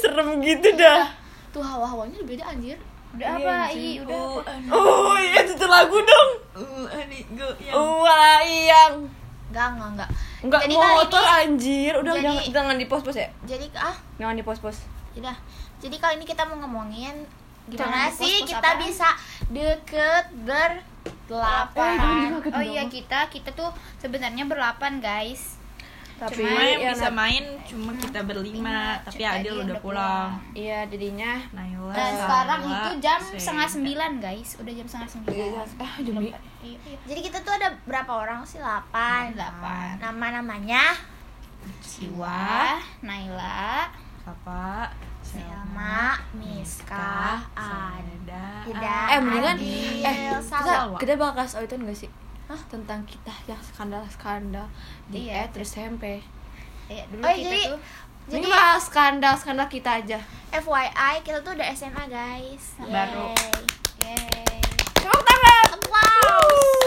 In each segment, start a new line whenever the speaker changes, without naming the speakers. serem gitu dah
Iya. tuh hawa-hawanya udah beda anjir
Udah
Iya,
apa?
anjing.
Ih, udah
Oh,
apa?
anu.
oh iya Uh, itu lagu dong
Oh, anu, go, yang-
wah yang
enggak enggak enggak
nggak
Jadi kali
motor
ini-
anjir udah
jadi-
jangan jangan di pos pos ya
jadi ah
jangan di pos pos
udah jadi kali ini kita mau ngomongin
Jangan
gimana
di
sih
pos-pos
kita
apaan?
bisa deket berlapan gitu.
Oh iya kita kita tuh sebenarnya berlapan guys.
tapi
Cuma yang
eh,
ya,
bisa
na-
main cuma kita berlima,
Lima,
tapi
tadi
Adil Iya, udah pulang. Nah,
iya jadinya
Dan
Naila, Sarwa,
sekarang itu jam
Sen.
setengah sembilan guys. Udah jam setengah sembilan.
ah demi
Iya, iya.
jadi kita tuh ada berapa orang sih delapan
Delapan.
nama namanya
Siwa,
Naila,
Papa,
Ah, Selma Miska Adi
Ada,
Ida,
eh mendingan
Adil,
eh kita,
Salwa.
kita bakal kasih tau itu nggak sih tentang kita yang skandal skandal di
Iya.
terus SMP
eh, dulu
Oh,
kita
jadi-
tuh
jadi
Jadi-
mah skandal skandal kita aja
FYI kita tuh udah SMA guys
Baru.
Yeay.
Yeay.
tepuk tangan
Applause.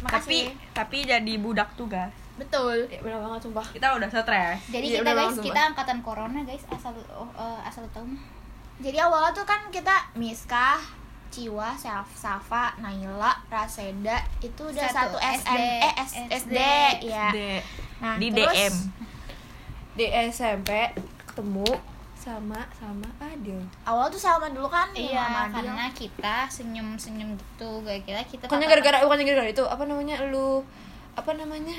Tapi
Makasih.
tapi jadi budak tugas.
betul
ya, bener banget sumpah
Kita udah stres.
Jadi
Iya,
kita
udah
guys,
langsung,
kita angkatan corona guys, asal oh, eh, asal tahu mah.
jadi awalnya tuh kan kita Miska Ciwa, Saf- Safa, Naila, Raseda itu udah satu,
Satu
SM,
SD.
eh S- SD,
Iya.
ya.
D-
Nah,
di
terus
DM.
di SMP ketemu sama sama Adil
Awal tuh Salma dulu kan ya, sama
Iya,
Adil.
karena kita senyum-senyum gitu, gara-gara kita
bukannya
tatap-
gara-gara bukannya gara-gara itu apa namanya lu apa namanya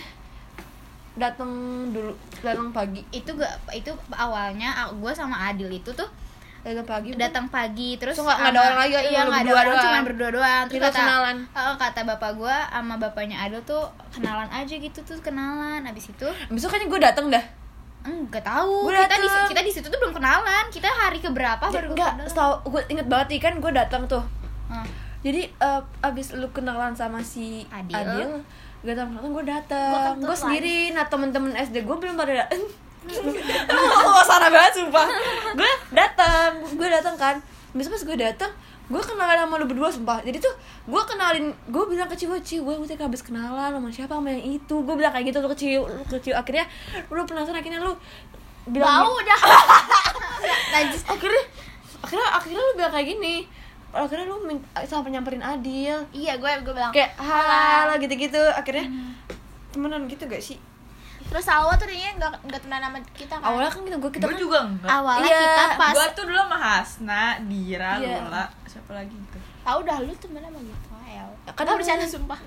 datang dulu datang pagi
itu gak itu awalnya gue sama Adil itu tuh
datang pagi
datang pagi terus
Terus nggak- nggak ada
sama-
orang lagi,
iya
lu
nggak ada
berdua
orang
doang.
cuma berdua doang terus
Kita
kata
kenalan.
eh, kata bapak gue sama bapaknya Adil tuh kenalan aja gitu tuh kenalan abis itu
besok kan gue datang dah
enggak tahu
Gua
kita di
dateng.
kita di situ tuh belum kenalan kita hari keberapa
Jadi,
Oh, baru
enggak
kenalan.
setahu gue inget banget nih kan gue datang tuh
Hah.
jadi eh, abis lu kenalan sama si
Adil.
Adil, gak tau kenapa gue datang
kentut
gue
lagi.
sendiri nah temen-temen SD gue belum pada datang oh sana banget sumpah gue datang gue datang kan Habis pas gue datang gue kenalan sama lu berdua sumpah jadi tuh gue kenalin gue bilang ke Ciwo Ciwo gue tadi habis kenalan sama siapa sama yang itu gue bilang kayak gitu lu ke Ciwo lu ke Ciwo akhirnya lu penasaran akhirnya lu bilang
Bau dah.
Najis.
akhirnya akhirnya akhirnya lu bilang kayak gini akhirnya lu min- sampai nyamperin Adil
iya, gue gue bilang.
kayak halo gitu-gitu akhirnya temenan gitu gak sih
Terus Salwa tuh dia enggak enggak temenan sama kita kan.
awalnya kan kita gue kita
Gue
kan-
juga enggak.
awalnya
Iya,
kita pas
Gue tuh dulu sama Hasna, Dira,
Iya.
Lula, siapa lagi gitu.
Tahu dah lu temenan sama gitu. El.
Kan-
Enggak bercanda sumpah.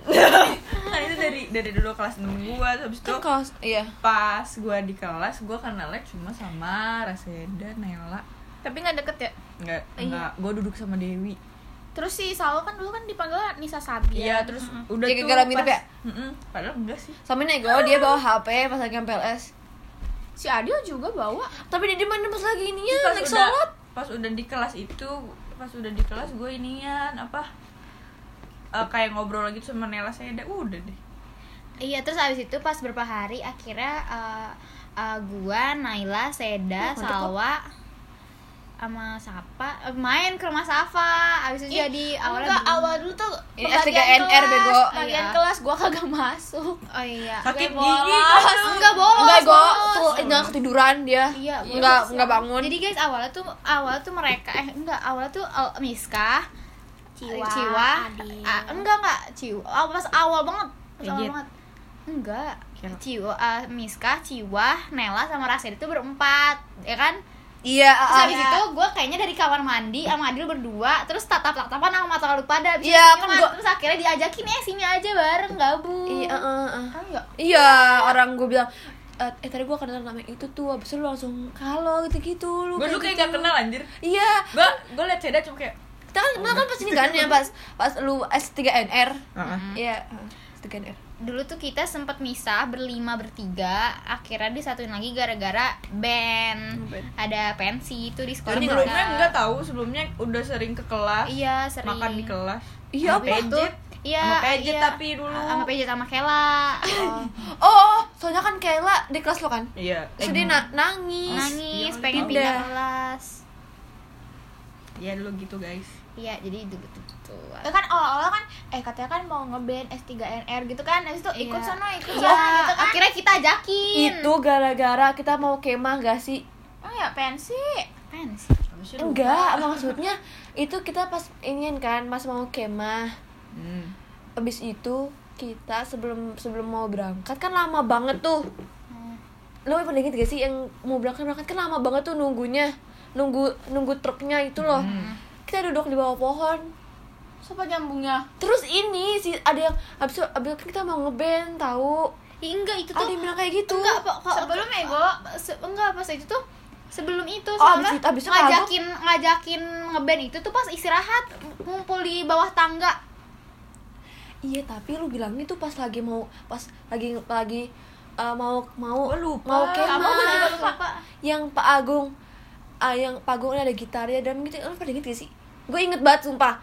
Kan itu dari dari dulu kelas 6 gue, habis itu
kan kalau iya
pas gue di kelas gue kenalnya cuma sama Raseda Nela
Tapi enggak deket ya.
nggak nggak gue duduk sama Dewi
Terus si Salwa kan dulu kan dipanggil Nisa Sabia.
iya terus udah
Ya,
tuh
gara-gara mirip
pas-
ya?
Mm-mm, padahal enggak sih
sama ini gue dia bawa HP pas lagi main PLS
Si Adil juga bawa.
tapi dia di mana pas lagi ini
Terus
ya
pas
naik
udah
sholat
pas udah di kelas itu pas udah di kelas gue inian apa eh, kayak ngobrol lagi tuh sama Nela Seda udah deh
Iya terus abis itu pas berapa hari akhirnya eh, eh, gua, Naila, Seda,
mantep
Salwa sama Sapa eh, main ke rumah Safa. Abis itu
Ih,
jadi awalnya Iya,
Enggak,
bingung.
awal dulu tuh
Ini
pembagian
S3NR,
kelas,
bego.
Bagian
Iya.
kelas gua kagak masuk.
Oh iya.
sakit
Gue
gigi
bolos.
gua tuh.
Enggak bolos.
enggak gue
bolos.
tuh enggak ketiduran dia
Iya, bolos,
enggak
ya.
enggak bangun
Jadi guys awalnya tuh awalnya tuh mereka eh enggak awalnya tuh eh, Miska,
Ciwa, Adil.
ah, enggak enggak Ciwa. Oh, pas awal banget. Pas awal
Pijit.
banget. Enggak.
Kira.
Ciwa, eh, Miska, Ciwa, Nela sama Rasel itu berempat, ya kan?
iya
Terus
ah.
habis itu gue kayaknya dari kamar mandi sama Adil berdua Terus tatap-tatapan sama mata lu pada Habis itu
Iya, kan
ciuman.
gua-
Terus akhirnya diajakin ya sini aja bareng gabung
iya eh, eh, eh.
Kan enggak
Iya, orang gue bilang "Eh, eh tadi gue kenal nama yang itu tuh abis itu lu langsung kalau gitu gitu lu
gue dulu kayak gak
gitu."
kenal anjir
iya
gue gue liat Seda cuma kayak
kita
Oh,
kan kenal kan pas ini kan ya pas pas lu S3NR iya heeh, S3NR
Dulu tuh kita sempet misah berlima bertiga Akhirnya disatuin lagi gara-gara band
Band.
Ada pensi itu di sekolah
sebelumnya
kita.
enggak tahu sebelumnya udah sering ke kelas
Iya sering
makan di kelas
iya
Sama
apa
Pejet.
tuh
Iya
Sama Pejet
iya.
tapi dulu.
Sama Pejet sama Kela
oh soalnya kan Kayla di kelas lo kan
iya
terus dia na- nangis
Nangis
Iya,
pengen
udah.
pindah kelas
Iya dulu gitu guys
Iya jadi itu gitu
Ya kan awal-awal kan eh katanya kan mau ngeband S3NR gitu kan. Habis itu ikut
Iya.
sono, ikut
Iya,
sono gitu kan.
akhirnya kita ajakin
itu gara-gara kita mau kemah gak sih
ya pensi
Apaan sih?
Habisnya lupa.
Enggak, maksudnya itu kita pas ingin kan pas mau kemah.
Hmm.
Abis itu kita sebelum sebelum mau berangkat kan lama banget tuh. Hmm. Lo pernah inget gak sih yang mau berangkat berangkat kan lama banget tuh nunggunya, nunggu nunggu truknya itu loh.
Hmm.
Hmm. Kita duduk di bawah pohon.
siapa jambungnya
Terus ini sih ada yang abis itu- abis itu kan kita mau ngeband tahu.
Ih, Iya, enggak itu
Ada
tuh
yang bilang kayak gitu.
enggak kok kok-
sebelum ego
eh, se- enggak pas itu tuh sebelum itu
Oh,
soalnya
abis itu- abis itu
ngajakin ngajakin ngeband itu tuh pas istirahat ngumpul di bawah tangga
Iya tapi lu bilangnya tuh pas lagi mau pas lagi lagi eh, mau mau
Gua Oh, lupa.
mau kemah.
Apa gua juga
yang Pak Agung ah, yang Pak Agung ada gitarnya dan gitu lu pada inget gak sih gue inget banget sumpah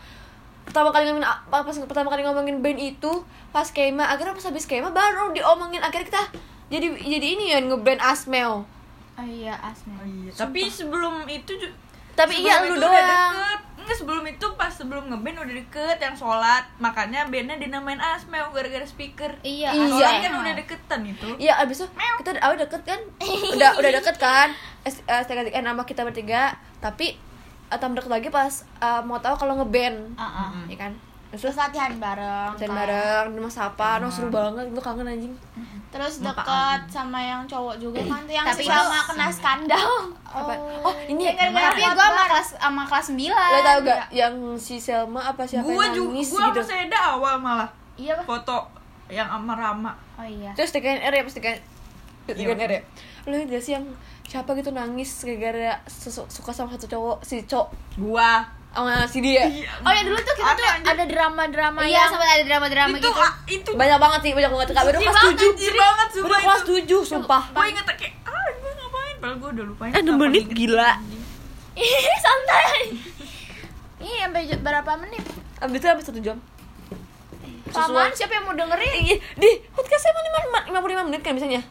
pertama kali ngomongin apa pas pertama kali ngomongin band itu pas kema akhirnya pas habis kema baru diomongin akhirnya kita jadi jadi ini ya ngeband Asmel
oh, iya asma
Oh iya. Tapi sebelum itu ju-
tapi
sebelum
iya lu
itu udah
doang
deket. Enggak sebelum itu pas sebelum ngeband udah deket yang sholat makanya bandnya dinamain Asmeo gara-gara speaker.
iya
Iya.
asma.
Sholat kan udah deketan itu.
Iya abis itu kita udah deket kan Udah udah deket kan S- eh, STKTN nama kita bertiga Tapi eh, tambah deket lagi pas eh, mau tahu kalau ngeband
Uh-uh.
Ah, ah.
Iya kan
terus
Terus
latihan bareng
dan
kan.
bareng di rumah Sapa Noh
Uh-uh.
seru banget gue kangen anjing
terus
Muka
deket sama yang cowok juga kan tuh yang
Tapi
Tapi
itu-
sama kena skandal
Apa? Oh, ini
Yang gara-gara
tapi
Kenapa?
gue sama kelas sama kelas 9
Lo tau gak yang si Selma apa siapa
Gua
yang
juga
nangis
gua
gitu
sama Seda awal malah
iya pak
foto yang sama Rama.
oh iya
Terus TKNR ya pasti kan
Iya.
TKNR ya Lo ingat gak sih yang siapa gitu nangis gara-gara sesu- suka sama satu cowok Si Cok
Gua
sama si dia
Iya.
oh ya dulu tuh kita
Ada,
tuh
anjir.
ada drama-drama
iya
yang
sempat ada drama-drama
itu
gitu
ah, itu
Banyak banget sih, banyak banget Kak, baru
Jijik
kelas
banget,
7
jijik banget
Baru
sumpah
kelas
itu.
7, sumpah
Gue inget kayak ah gue ngapain padahal gue udah lupain.
Eh, 6
kenapa
menit
diinget.
gila
Ih, santai Ih, sampai ju- berapa menit?
Abis itu habis 1 jam
Paman, siapa yang mau dengerin?
Ih, Di, podcastnya emang 55 menit kan biasanya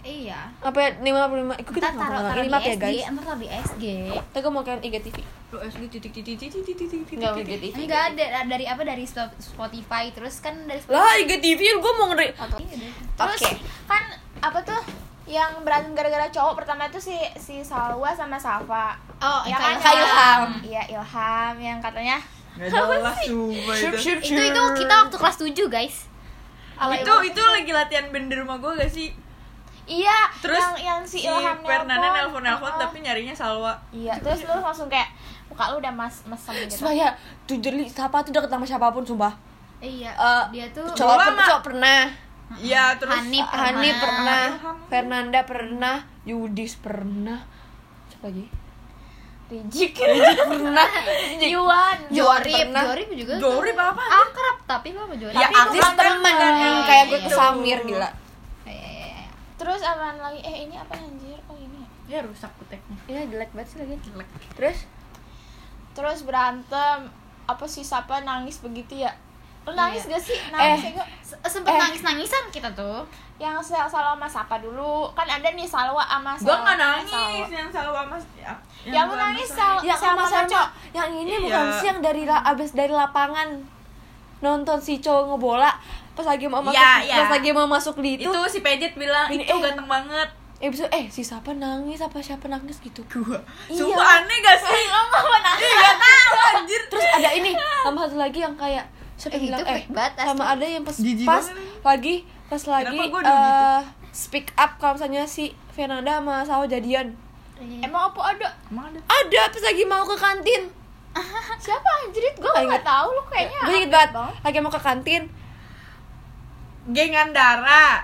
iya
Apa 55, ikut kita
Ntar taruh
ngomong
taruh
Ini
di
maaf ya
SG,
guys
ntar taruh di SG.
Tapi gue Eh, mau ke IGTV
Lu SG titik titik titik titik titik titik.
Enggak mau IGTV
Enggak ada dari apa dari Sp- Spotify terus kan dari Iya, Spotify.
Lah IGTV gue mau ngeri
Terus
Oke.
kan apa tuh yang berantem gara-gara cowok pertama itu si si Salwa sama Safa.
Oh,
Ya
Kak
kan?
Kak Ilham.
Iya, Ilham yang katanya
Enggak jelas sumpah
Syup,
itu.
syup,
Itu itu
syup.
kita waktu kelas 7, guys.
ala
Itu
Ilham.
itu lagi latihan band di rumah gue gak sih?
Iya,
Terus
yang yang si
si
Ilham Uh-uh.
Fernanda nelpon nelpon
Heeh.
tapi nyarinya Salwa.
Iya, terus lu langsung kayak muka lu udah mas mesem gitu.
Sumpah ya, jujur li, siapa tuh deket sama siapapun sumpah
Iya.
Eh,
dia tuh
Cowok,
Gua
per-
mah-
cowok pernah
Iya, terus
Hanif pernah.
Hani pernah
Ilham.
Fernanda pernah Yudis pernah Siapa lagi?
Rijik.
pernah
Yuan.
Jorip
Jorip,
pernah.
Jorip juga tuh
Jorip apa?
akrab tapi lo sama Jorip.
Ya
Ya, Tapi
artis
bukan
temen
temen.
yang kayak gue ke
Iya.
Samir gila
Eh,
Terus apaan lagi? Eh, ini apa anjir? Oh, ini.
Ya rusak kuteknya.
Iya jelek banget sih lagi
Jelek.
Terus?
Terus berantem apa si Sapa nangis begitu ya? Lu nangis
Iya.
gak sih? Nangis
Eh.
ya, gak?
se- sempet
Eh.
nangis-nangisan kita tuh.
yang sel Salwa sama Sapa dulu kan ada nih Salwa sama
Gue
Salwa-
nggak nangis
Salwa.
yang Salwa mas. ya,
yang lu
gua
nangis
Oh, sama
Salwa
Yang sama
sama
Sarma
Saco
Ya, Yang ini
Iya.
bukan sih yang dari la- abis dari lapangan Nonton si cowok ngebola Pas lagi mau masuk,
Iya, iya.
pas lagi mau masuk di itu,
itu si Pejet bilang
Ini,
itu
eh.
ganteng banget
Eh, abis itu, eh si siapa nangis apa siapa nangis gitu
gua
Iya.
sumpah aneh gak sih
Lu nggak mau nangis
gak tahu anjir
Terus ada ini sama satu lagi yang kayak siapa
Eh,
yang bilang
itu
eh
fake banget, asli.
sama ada yang pas
Jijik
pas
banget.
lagi pas lagi
Kenapa gua
eh
dulu gitu?
speak up kalau misalnya si Fernanda sama Sawa jadian
emang apa ada
emang ada
ada pas lagi mau ke kantin
kan siapa anjrit gue
Nggak ingat.
nggak tahu lu kayaknya
gue inget banget lagi mau ke kantin
geng Andara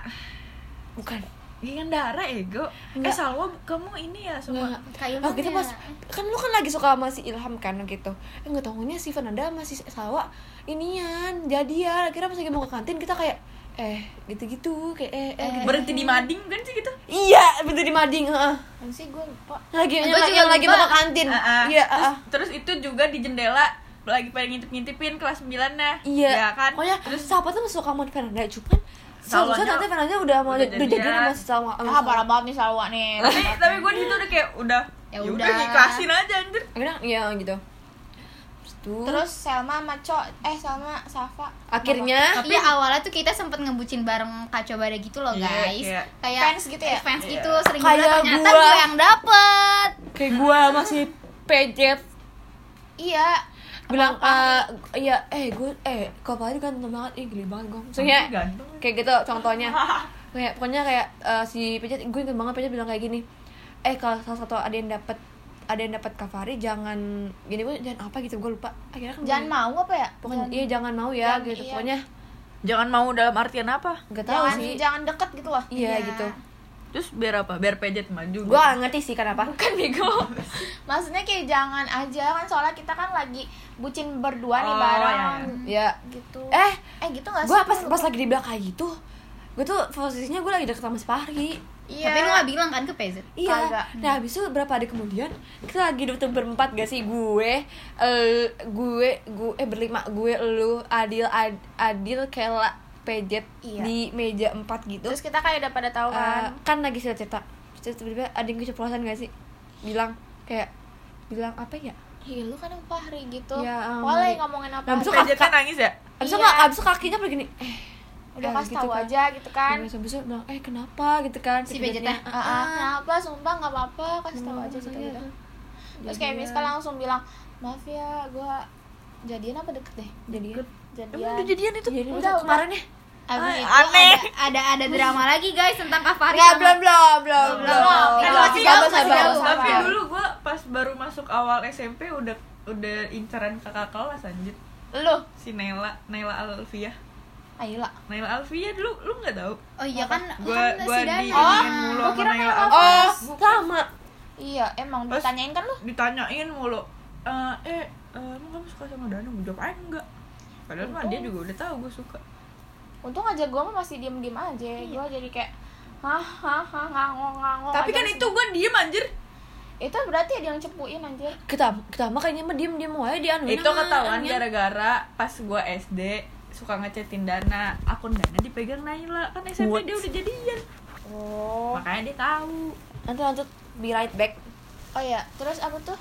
bukan
geng Andara ego eh
Enggak.
Salwa kamu ini ya
Enggak,
sama
Kayak
Oh, kita pas kan lu kan lagi suka sama si Ilham kan gitu. Eh enggak tahunya si Fernanda sama si Sawa inian jadian. Akhirnya pas lagi mau ke kantin kita kayak eh gitu-gitu kayak eh, eh, gitu.
berhenti di mading kan sih gitu
Iya, bener di mading, heeh.
Apa sih gue lupa
Lagi
Gua
yang,
juga
yang lagi mau ke
lupa.
kantin.
Heeh.
Iya,
Terus-
heeh.
terus, itu juga di jendela lagi pada ngintip-ngintipin kelas 9 nya
Iya.
ya kan
Pokoknya
terus
sahabat tuh suka sama Fernanda cuman
Salwanya-
Seharusnya nanti Fernanda udah mau
udah
udah jadian
jadian.
sama si Salwa. sama
ah
Salwa.
parah banget nih Salwa nih
tapi, tapi gue di situ udah kayak udah
Ya
ya udah
udah.
ikhlasin aja anjir
Akhirnya iya gitu. Habis itu
Terus Selma sama Co eh Selma Safa
akhirnya
Tapi-
Iya awalnya tuh kita sempet ngebucin bareng kacau Bada gitu loh
Iya,
guys
iya.
Kayak
Fans gitu ya?
Fans
Iya.
gitu sering
Kayak
bilang ternyata
gua.
gue yang dapet
kayak gua masih pejet
iya
bilang eh iya eh gue eh kok paling ganteng banget ih geli banget gue maksudnya
Ganteng.
kayak gitu contohnya kayak pokoknya kayak eh, si pijat gue inget banget pijat bilang kayak gini eh kalau salah satu ada yang dapat ada yang dapat kavari jangan gini gue jangan apa gitu gue lupa akhirnya kan
jangan
gua-
mau apa ya
pokoknya iya jangan mau ya
jangan,
gitu
iya.
pokoknya
Jangan mau dalam artian apa?
gak tahu
jangan
sih
jangan deket gitu loh
iya
Iya.
gitu
Terus biar apa? Biar pejet maju.
gue gak ngerti sih kenapa bukan bego
maksudnya kayak jangan aja kan soalnya kita kan lagi bucin berdua nih
Oh,
bareng
iya,
ya
gitu
eh
eh gitu gak sih
gue pas pas lagi dibilang kayak gitu gue tuh posisinya gue lagi deket sama si Fahri
iya
Tapi lu gak bilang kan ke PZ
Iya.
Kagak.
Nah, habis itu berapa hari kemudian kita lagi duduk berempat gak sih gue, el- gue, gue eh berlima, gue, lu, Adil, Ad- Adil, Kela, Pejet
Iya.
di meja empat gitu.
terus kita kayak udah pada tahu
Eh,
kan
kan lagi cerita-cerita. Terus tiba-tiba ada yang keceplosan gak sih? Bilang kayak bilang apa ya?
Iya lu kan apa hari gitu
Ya,
Wah, lagi
ampun.
ngomongin apa
Nah,
hari.
besok
Pejetnya nangis ya?
Abis itu
Iya.
nggak- abis itu kakinya begini. Eh,
Udah
nah,
kasih tahu
kan.
aja gitu kan
Terus abis itu bilang, eh kenapa gitu kan?
Si
Pejetnya,
Pejetnya,
"Ah, Iya,
Ah, ah, kenapa sumpah nggak apa-apa kasih tahu aja gitu
maksudnya
gitu
tuh."
terus kayak Miska langsung bilang maaf ya gue jadian apa deket deh
Jadi
Emang
jadian
udah jadian itu?
Jadi
Udah,
udah kemarin ya?
Abis
Ay,
itu
aneh.
ada, ada ada drama lagi guys tentang Kafari
Nggak, belum, belum, belum,
Belum.
Eh,
belum.
tapi-
Sabar,
tapi-
sabar,
tapi-
sabar.
Tapi dulu gue pas baru masuk awal SMP udah udah incaran kakak kelas anjir
lu
si Nela Nela Alfia
ayolah
Nela Alfia dulu lu nggak tahu
Oh iya kan
gue
kan
gue
si Dana.
di
Oh,
mulu
gua
sama
kira
Nela
Nela
Alfia.
Oh, sama.
iya emang
Terus-
ditanyain kan lu
ditanyain mulu "Eh, eh emang kamu suka sama Danu Gua jawab aja enggak padahal mah dia juga udah tahu gue suka
untung aja gue mah masih diem diem aja
Iya.
gue jadi kayak hah hah hah ngangong ngangong
tapi
aja
kan
masih-
itu gue diem anjir
itu berarti ada yang cepuin anjir
Kita kita mah kayaknya mah diem-diem wae dia anuin
itu
sama
ketahuan
anuin.
gara-gara pas gue SD suka ngechatin Dana akun Dana dipegang Naila kan SMP dia
What?
udah jadian
oh
makanya dia tahu
Nanti lanjut be right back.
oh ya terus apa tuh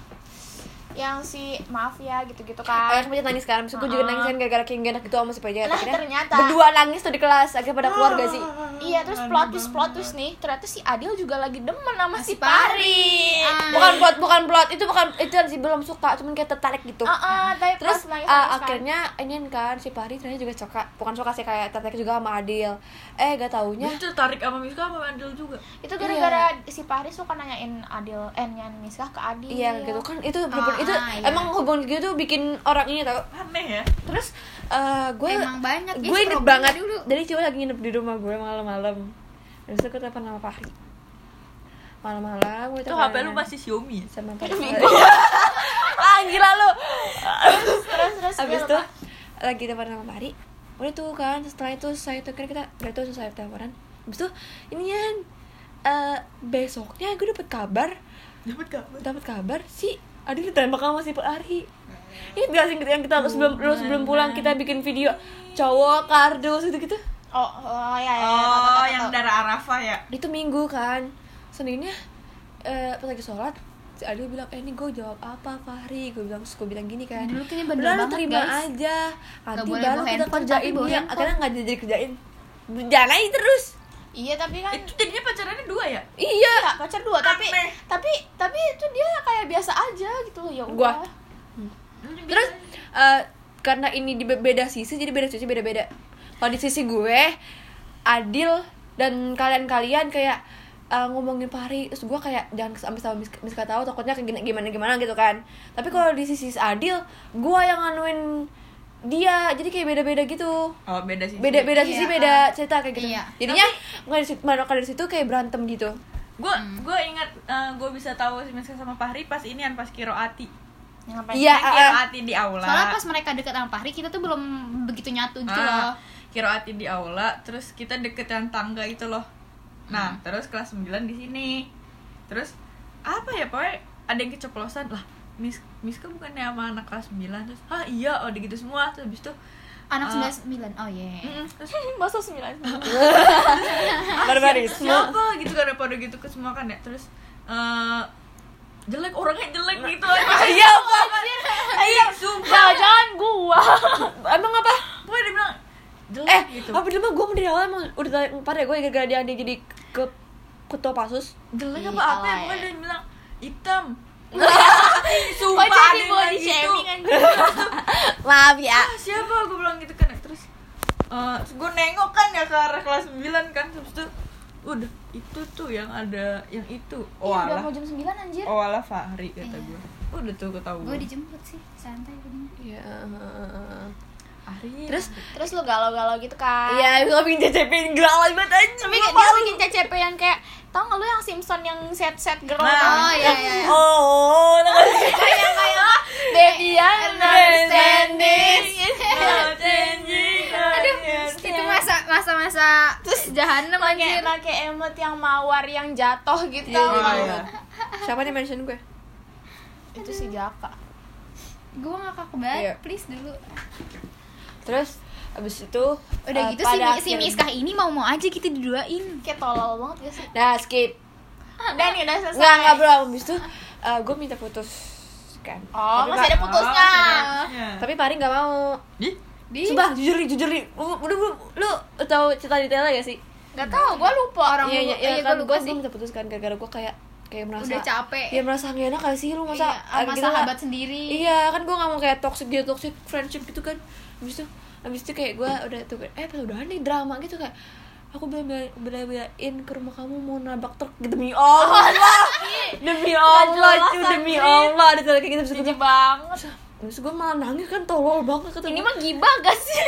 yang si maaf ya gitu gitu
Akhirnya aku
kan
Oh, nangis sekarang, Terus gue juga
Ah.
nangis kan gara-gara kayak gak enak gitu sama si Pajar
Lah, ternyata.
Berdua nangis tuh di kelas, akhirnya pada keluar gak sih?
Ah,
Iya, terus plot twist plot twist nih. Ternyata si Adil juga lagi demen sama si Pari.
Ah.
Bukan plot, bukan plot, itu bukan, itu sih belum suka, cuman kayak tertarik gitu
Heeh, Ah, tapi
Terus
Oh, pas nangis,
ah,
nangis kan.
akhirnya ini kan si Pari ternyata juga suka, bukan suka sih kayak tertarik juga sama Adil Eh gak taunya
Dia tertarik sama Miska sama Andel juga
itu gara-gara
Iya.
si Pari suka nanyain Adil eh nanyain Miskah ke Adil.
Iya gitu kan itu bener-bener- itu
Ah, ah, iya.
emang hubungan gitu tuh bikin orang ini tau
aneh ya
terus eh gue
Emang banyak
Nah,
ya
gue inget
problemnya
banget
dulu.
dari cowok lagi nginep di rumah gue malam-malam terus aku telepon sama Fahri malam-malam gue
itu HP lu masih Xiaomi ya?
sama Fahri ah gila lu
Terus terus
habis
dia
tuh
lupa.
lagi telepon sama Fahri udah tuh kan setelah itu saya tuh kan kita udah tuh selesai teleponan habis tuh ini kan eh, besoknya gue dapet kabar
dapat
Eh,
kabar
dapat kabar si Adil ditembak sama si Ari ini gak sih yang kita sebelum lu sebelum pulang kita bikin video cowok kardus gitu gitu
Oh, oh ya ya. ya, tau, tau,
oh
tau,
yang
tau.
dari Arafah ya
itu minggu kan seninnya eh, pas lagi sholat si Adil bilang eh ini gue jawab apa Fahri gue bilang terus gue bilang gini kan
Dulu kayaknya bandel
"Udah, lu
banget,
terima
guys."
aja nanti baru
boleh bawa
kita
handphone,
kerjain
tapi bawa
dia
handphone.
akhirnya nggak jadi kerjain jangan aja terus
Iya, tapi kan
itu jadinya pacarannya dua ya
iya
enggak pacar dua, tapi
Aneh.
tapi tapi itu dia kayak biasa aja gitu loh, ya
Gua.
udah.
Terus eh, karena ini di be- beda sisi jadi beda sisi beda-beda. Kalau di sisi gue adil dan kalian-kalian kayak eh, ngomongin Pari terus gue kayak jangan sampai sama Miska, Miska tahu takutnya kayak gimana gimana gitu kan. Tapi kalau di sisi adil gue yang nganuin dia jadi kayak beda-beda gitu
oh beda sih
beda beda sisi
Iya,
beda cerita kayak gitu
Iya.
jadinya nggak dari situ mana dari situ kayak berantem gitu
gue
Hmm.
gue ingat gue bisa tahu si Miska sama Fahri pas ini pas kiroati
Ngapain?
Iya,
Ini
ah, ah.
kiroati di aula
Soalnya pas mereka deket sama Fahri kita tuh belum begitu nyatu gitu
Ah,
loh
kiroati di aula terus kita deket yang tangga itu loh
Hmm.
nah terus kelas 9 di sini terus apa ya pokoknya ada yang keceplosan lah Mis Miska bukannya sama anak kelas 9 terus ah iya oh gitu semua terus habis itu
Anak
Ah.
99, oh iya
mm, terus
Masa sembilan.
barbarisme
siapa gitu kan pada gitu ke semua kan ya terus kan eh jelek orangnya jelek gitu aja
Iya, apa?
iya sumpah
Jangan-jangan gua.
Emang apa?
pokoknya dia bilang jelek
Eh,
gitu
apa dulu mah gue dari awal emang udah tarik ya gue gara-gara dia dia jadi ke ketua pasus.
jelek
Ih,
apa
Iya,
apa ya
alay.
pokoknya dia bilang hitam
Oh,
sumpah
jadi
dia
body
bilang gitu.
shaming anjing.
Maaf ya.
ah, siapa gue bilang gitu kan terus eh gue nengok kan ya ke arah kelas 9 kan terus itu udah itu tuh yang ada yang itu
Iya,
Ih,
Iya,
oh
udah
alah
mau jam 9 anjir.
oh alah Fahri kata
Iya.
gue udah tuh
Gua
ketahuan
dijemput sih, santai jadinya.
Iya.
Fahri
Terus
Terus lu galau-galau gitu kan?
Iya, gue bikin CCP gelap banget aja.
Tapi kayak dia bikin CCP yang kayak tau gak lu yang Simpson yang set-set girl
Nah.
Oh iya iya. iya.
Oh,
kayak kayak baby understanding
Not changing,
Aduh,
not
itu masa masa-masa terus jahanam
pakai
anjir.
pakai emot yang mawar yang jatuh gitu
Iya,
Oh,
tau
iya.
gak?
Siapa nih mention gue?
itu si Jaka
Gua ngakak banget,
Iya.
please dulu.
Terus abis itu
Udah
eh,
gitu si,
pada
si
akhirnya-
Miskah ini mau-mau aja kita diduain.
kayak tolol banget gak sih
Nah, skip.
udah nih udah selesai
Enggak, enggak bro. Abis itu gue minta putus kan. Tapi
oh masih
Pak-
ada putusnya
Tapi Pari nggak mau.
Iya. Ih,
Di
Sumpah, jujur nih, jujur nih. Udah, lu, lu tahu cerita detailnya gak sih?
nggak tahu gue lupa
Iya,
Orang lu-
iya, iya,
iya,
kan
gua
gue
lupa sih.
minta putus kan gara-gara gue kayak kayak merasa
udah capek.
Ya merasa gak enak kali sih lu masa
Iya, sama
kita nggak-
sahabat sendiri.
Iya, kan gue gak mau kayak toxic dia toxic friendship gitu kan. Habis itu habis itu kayak gue udah tuh kayak, eh pas udahan nih drama gitu kayak aku bela-belain ke rumah kamu mau nabak truk gitu demi Allah demi Allah itu demi Allah ada cerita kayak gitu Habis itu
sedih
gua-
banget
habis gue malah nangis kan tolol banget kata
ini
gua.
mah gibah gak sih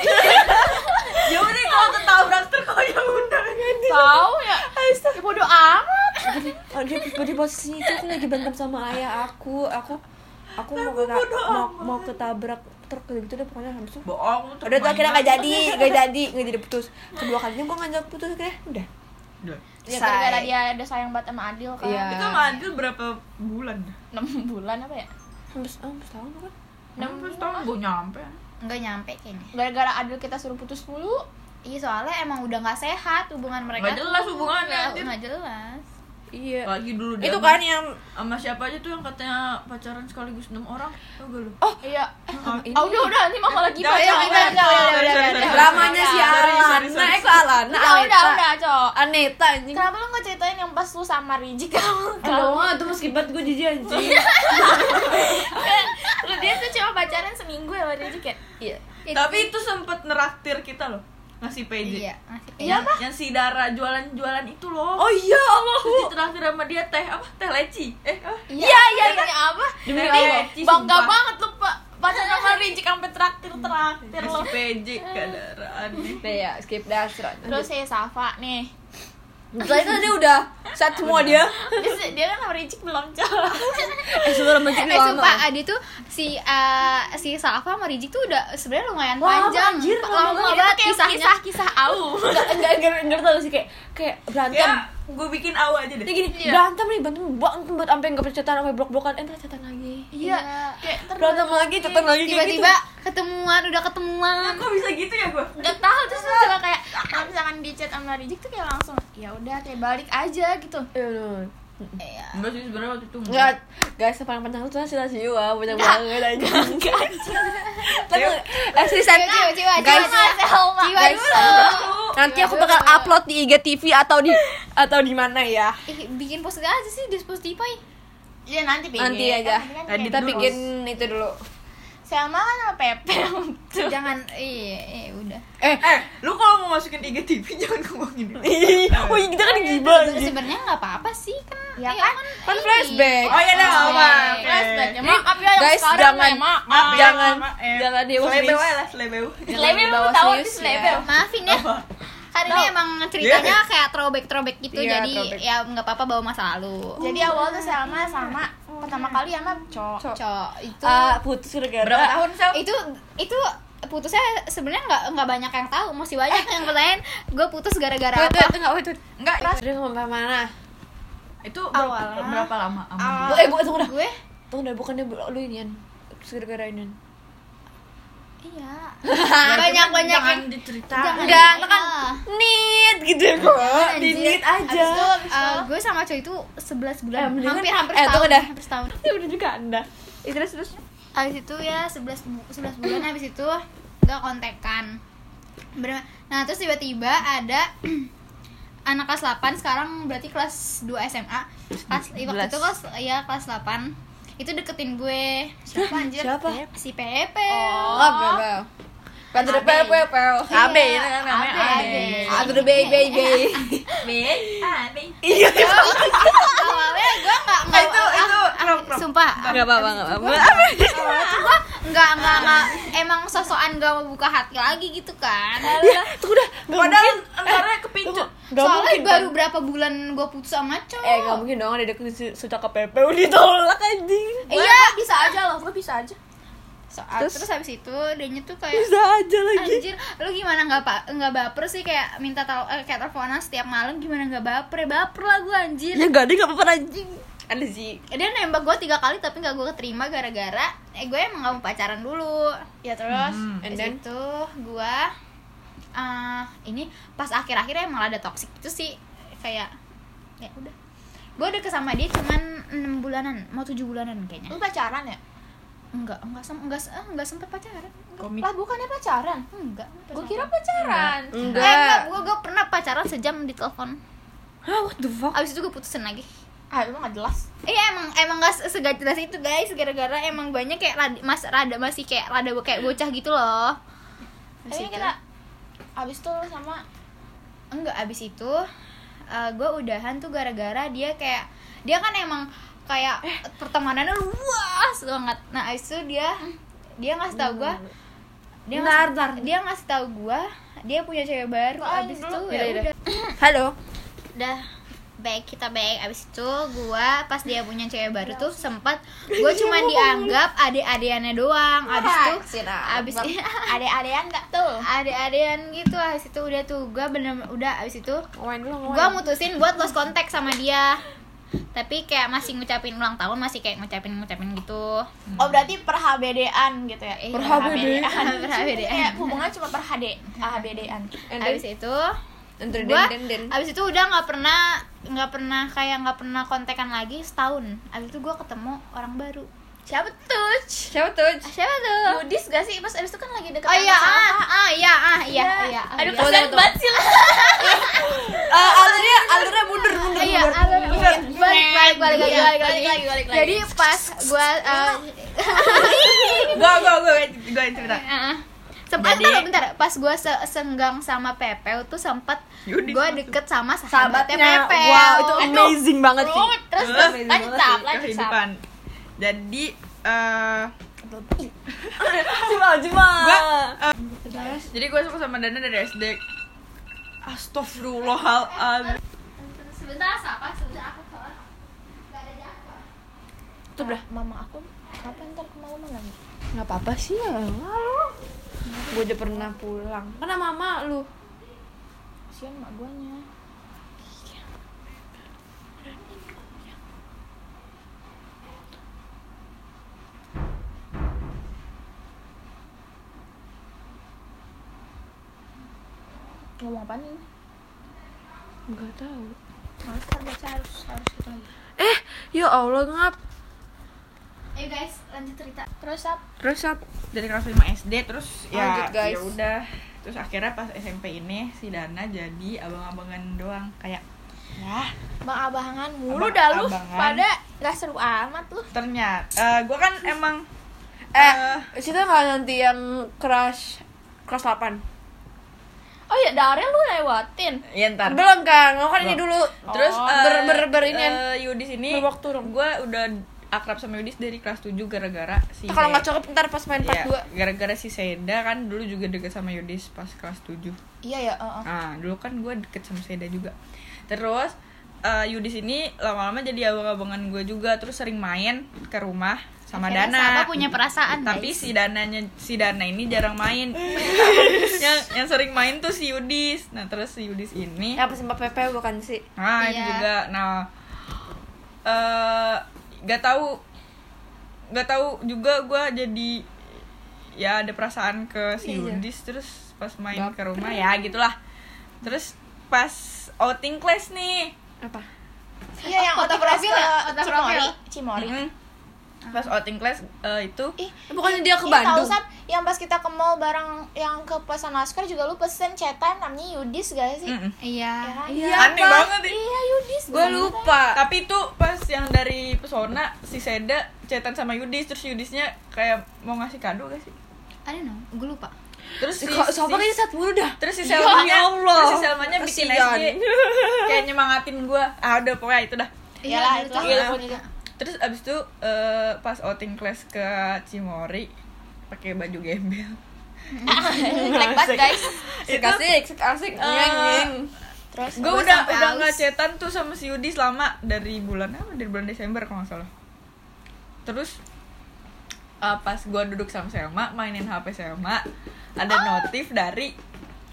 ya udah kalau ketabrak terus kok ya udah ganti.
tahu ya ya bodo amat
oh, dia, dia posisinya itu aku lagi berantem sama ayah aku aku aku mau kena,
bodo
mau,
amat.
mau ketabrak truk kayak gitu deh pokoknya habis itu
bohong lu
udah tuh akhirnya gak
mainan.
jadi gak jadi gak jadi putus kedua kalinya gue ngajak putus akhirnya udah
Udah.
ya gara-gara dia ada sayang banget sama Adil kan
kan- Iya.
itu sama Adil berapa bulan
6 bulan apa ya
hampir oh, hampir setahun kan
enam puluh tahun gue nyampe
Nggak nyampe kayaknya.
gara-gara Adil kita suruh putus mulu
Iya soalnya emang udah nggak sehat hubungan mereka.
Nggak jelas
tuh.
hubungannya,
Nggak-
anjir.
nggak jelas.
iya
lagi dulu dia
itu
sama-
kan yang
sama siapa aja tuh yang katanya pacaran sekaligus enam orang tau gak lu
oh
iya
sama ini
Ah udah udah nanti mah malah
Jangan,
gibah ya
jangan,
gibah
jangan, jangan,
udah,
jangan,
udah,
jangan.
udah.
dramanya si
Sorry, sorry,
Alana
sorry, sorry.
eh kok Alana
Udah Ah, udah udah cok.
Aneta anjing
Kenapa lu nggak ceritain yang pas lu sama Rijik kamu?
Aduh, itu meski banget gue jijik anjing
Lu dia tuh cuma pacaran seminggu ya sama Rijik ya?
Iya
tapi itu sempet neraktir kita loh ngasih PJ
Iya, masih
Iya apa? Yang si Dara jualan-jualan itu loh.
Oh iya
Terus
Allahu
ditraktir sama dia teh apa? Teh leci. Eh, apa?
Iya iya ini apa?
Demi
Jadi
Allah, Ci,
bangga
sumpah.
banget lu pa- pacaran sama Rijik sampai traktir traktir lu.
Ngasih PJ ke Dara aneh.
Udah ya skip dah serat
Terus si Safa nih.
Setelah itu dia udah set semua dia
Dia, dia kan sama Rijik belum cok.
Eh seluruh macam
Eh sumpah Adi tuh si eh, si Safa sama Rizik tuh udah sebenarnya lumayan
Lama,
panjang.
anjir, lama
Lama
Itu
banget
kayak
kisahnya.
kisah-kisah au.
Enggak, enggak, enggak, enggak tau sih kayak kayak berantem
Ya, gue bikin awal aja
Dia
deh.
Ya gini, berantem nih, berantem berantem buat sampai enggak percetan sampai blok-blokan, eh ntar cetan lagi.
Iya.
Kayak ter-
Berantem lagi, cetan
Oh,
lagi kayak
Tiba-tiba
gitu.
ketemuan, udah ketemuan.
Kok bisa gitu ya gue?
Gak tau terus lu coba kayak kalau misalkan di chat sama Rijik tuh kayak langsung ya udah kayak balik aja gitu.
Iya, bener.
Iya.
Enggak sih sebenarnya waktu itu
Enggak, guys, sepanjang-panjang itu sih nasi jiwa, banyak banget aja. Tapi asli saya
Nah, Coba, coba, coba,
Nah, guys,
coba,
Selma.
Jiwa
guys.
dulu.
nanti aku bakal upload di IGTV atau di atau di mana ya.
Ih, bikin post gak aja sih di Spotify?
Iya nanti pikir.
Nanti aja.
Edit
Kita
dulu.
bikin itu dulu.
Selma kan sama Pepe tuh.
Jangan iya, iya udah.
Eh,
Eh, lu kalau mau masukin IGTV jangan ngomongin
Ih,
ini.
oh iya, kita kan gibah
Seben-
anjing.
Sebenarnya nggak apa-apa sih kan.
Ya
iya
kan?
Kan
ini.
flashback.
Oh iya dah,
Flashback.
apa? Flashback.
Flashback. Ya, maaf ya yang
guys,
sekarang
jangan-
ya, maaf.
Maaf ya,
Jangan-
maaf, eh.
jangan di
Selebew
wishlist.
aja lah, selebew.
Jangan
Level lu
dibawa
tahu
serius
di level.
Maafin ya. Hari ini emang ceritanya kayak throwback-throwback gitu
Iya,
jadi
throwback.
ya nggak apa-apa bawa masa lalu.
Oh, Jadi awal tuh Selma sama pertama kali sama Cok.
Cok.
Cok, itu
Ah, putus gara-gara
Berapa tahun, Sel?
itu itu putusnya sebenarnya nggak nggak banyak yang tahu masih banyak yang pertanyaan gue putus gara-gara
Wait,
apa
wait, enggak, wait, wait.
Enggak,
Dia sampai mana?
itu berapa,
Awalnya.
berapa lama? sama dia?
Ah.
Bu, eh, gue tunggu dah.
gue
Tunggu dah, bukannya bu- lu inian. Terus gara-gara inian.
Iya.
Banyak
banyak
jangan
yang-
diceritain.
Jangan.
enggak
iya.
kan need gitu ya kok di
Anjir.
need
Abis itu,
aja
eh, gue sama cowok itu 11 bulan.
Eh, mendingan-
hampir hampir
eh, tunggu
setahun.
dah.
Hampir setahun.
ya udah juga anda Eh, terus terus
Habis itu ya 11 bu- 11 bulan habis itu gak kontekan. Bener- Nah, terus tiba-tiba ada anak kelas 8 sekarang berarti kelas 2 SMA. Kelas waktu itu kelas ya kelas 8 itu deketin gue siapa anjir
Siapa?
si Pepe
oh bebel Padu de pel pel pel Abe ya kan namanya
Abe.
Abe Eh, Abe de bay bay bay Iya
awalnya gue nggak nggak
Itu itu rok rok.
sumpah
Gak apa-apa gak apa-apa
awalnya tuh gue nggak nggak nggak emang sosokan gak mau buka hati lagi gitu kan
Ya tunggu dah Gak
Padahal
mungkin
entarnya kepincut.
Gak mungkin
soalnya
kan?
baru berapa bulan gue putus sama cowok
Eh gak mungkin dong ada deketin si sudah ke Pepe Udah ditolak anjing
iya
bisa aja loh, gue bisa aja.
soal
Terus?
terus, habis itu dia tuh kayak
Bisa aja lagi
anjir lu gimana nggak pak nggak baper sih kayak minta tel eh, kayak teleponan setiap malam gimana nggak baper ya baper lah gue anjir
Ya gak ada gak apa-apa anjing Ada sih
dia nembak gue tiga kali tapi nggak gue keterima gara-gara eh gue emang gak mau pacaran dulu ya terus
Hmm.
And
habis
then?
itu gue eh ini pas akhir-akhirnya emang ada toxic itu sih kayak ya udah gue deket sama dia cuman enam bulanan mau tujuh bulanan kayaknya
Lu pacaran ya?
enggak enggak sem enggak, se- eh, enggak sempet pacaran enggak
Komik.
Lah bukannya pacaran?
enggak
Gue kira pacaran.
enggak, eh, enggak.
Enggak
Gue, gue pernah pacaran sejam di telepon
Hah what the fuck
abis itu gue putusin lagi
Ah, emang gak jelas.
Iya emang emang gak se- segak jelas itu guys gara-gara emang banyak kayak rada, mas rada masih kayak rada bo- kayak bocah gitu loh. Abis itu,
Tapi kita abis itu lu sama
enggak abis itu eh, gue udahan tuh gara-gara dia kayak dia kan emang kayak
Eh.
pertemanannya luas banget. Nah abis itu dia dia ngasih tau gue dia ngasih, dia ngasih tau gue dia punya cewek baru
Apaan
abis
dulu?
itu ya
Yaudah,
udah
yaudah. Halo
udah baik kita baik abis itu gua pas dia punya cewek baru tuh sempat gua cuma dianggap adik-adikannya doang abis itu abis
adek-adean gak tuh?
adik-adikan gitu abis itu udah tuh gua bener udah abis itu
Ngawain dulu
gua mutusin buat lost contact sama dia tapi kayak masih ngucapin ulang tahun masih kayak ngucapin ngucapin gitu
Oh berarti per HBD-an gitu ya?
Eh,
Per
ya,
HBD.
HBD-an, per
Kayak
HBD-an.
hubungan cuma per HD, HBD-an.
abis itu
Entar
gua
Eh, den den den
abis itu udah nggak pernah nggak pernah kayak nggak pernah kontekan lagi setahun abis itu gua ketemu orang baru
Siapa tuh?
Siapa tuh?
Ah, siapa tuh
Budis gak sih? Pas abis itu kan lagi
oh
deket
iya
sama
ah ah iya ah iya iya ah,
Aduh
iya.
Tunggu,
kasihan
tunggu,
banget sih lu.
Ah, alurnya alurnya mundur mundur
Iya,
mundur.
ah, balik, balik, balik, balik,
Iya,
balik,
balik
balik.
lagi, balik lagi.
Jadi pas gua eh,
Gua gua gua gua yang cerita.
eh, sempat
Jadi-
bentar, bentar, pas gua se- senggang sama Pepeu tuh sempat
Yudi
gua
sama
deket sama sahabatnya,
Sahabatnya.
Pepeu.
Wow, itu amazing banget sih.
Ruwet. Terus
Eh,
lanjut sap, lanjut sap.
kehidupan. Jadi eh
Cuma cuma.
gua eh, jadi gua suka sama Dana dari SD. Astagfirullahaladzim
Sebentar, siapa? Sebentar aku soal. Gak ada jadwal.
Tuh udah
Mama aku kenapa ntar kemalaman lagi?
nggak apa-apa sih ya. Gue aja pernah pulang. Karena mama lu.
Kasihan mak guanya. Ngomong apa nih?
Gak tahu.
Maaf, ntar baca harus harus itu lagi.
Eh, ya Allah ngap.
Ayo guys, lanjut cerita.
Terus apa?
Terus up.
dari kelas 5 SD terus ya
Lanjut, guys.
ya udah terus akhirnya pas SMP ini si Dana jadi abang-abangan doang kayak ya
Bang abahangan mulu
Abang-
dah lu
abangan.
pada gak seru amat lu.
ternyata gue kan emang
Eh,
eh,
Sita nggak nanti yang crush kelas 8
Oh ya dari lu lewatin.
ya ntar
belum kan mau kan ini dulu
Terus
Oh.
eh,
ber ber ber ini kan.
eh, Yudis ini
berwaktu dong.
gue udah akrab sama Yudis dari kelas 7 gara-gara si
kalau
Se-
nggak cocok ntar pas main part
Iya,
2
gara-gara si Seda kan dulu juga deket sama Yudis pas kelas 7
Iya ya,
Oh.
heeh.
Nah, dulu kan gue deket sama Seda juga Terus eh, Yudis ini lama-lama jadi abang-abangan gue juga Terus sering main ke rumah sama
Akhirnya
Dana
Sapa punya perasaan,
Tapi
guys.
si Dananya, si Dana ini jarang main yang, yang sering main tuh si Yudis Nah, terus si Yudis ini
ya apa sempat PP bukan sih
Nah, itu
Iya.
juga. Nah, eh gak tahu, gak tahu juga gue jadi ya ada perasaan ke si
Iya.
Yudis terus pas main
Bap.
ke rumah ya gitulah terus pas outing class nih
apa
Iya yang
Foto
otak Hmm.
profil
profil
ya? Otak
Cimori,
profil.
Cimori.
Mm-mm. pas outing class eh, itu
Ih,
Bukannya dia ke
ih, Iya, tahu,
Bandung.
Sat, yang pas kita ke mall bareng yang ke pesan Oscar juga lu pesen cetan namanya Yudis gak sih?
mm-mm.
Iya.
Ya kan?
Iya,
aneh
Kak.
banget ih.
Iya Yudis.
gue lupa
tapi itu pas yang dari pesona si Seda cetan sama Yudis terus Yudisnya kayak mau ngasih kado gak sih
I don't know, gue lupa.
terus si,
kok
si-
sobat ini saat buru dah
terus si
Ya
Selmanya
Allah.
terus si Selmanya bikin
Kasian.
SD kayak nyemangatin gue ah udah pokoknya itu dah
Iya lah
gitu.
itu.
Iya.
aku juga.
terus abis itu eh, pas outing class ke Cimori pakai baju gembel
Jelek banget guys.
Sik asik, sik asik,
Eh,
nyeng nyeng
Terus
gue udah
sampai
udah
aus.
nggak chatan tuh sama si Yudi selama dari bulan apa dari bulan Desember kalau nggak salah terus eh, pas gue duduk sama Selma mainin HP Selma ada
Ah.
notif dari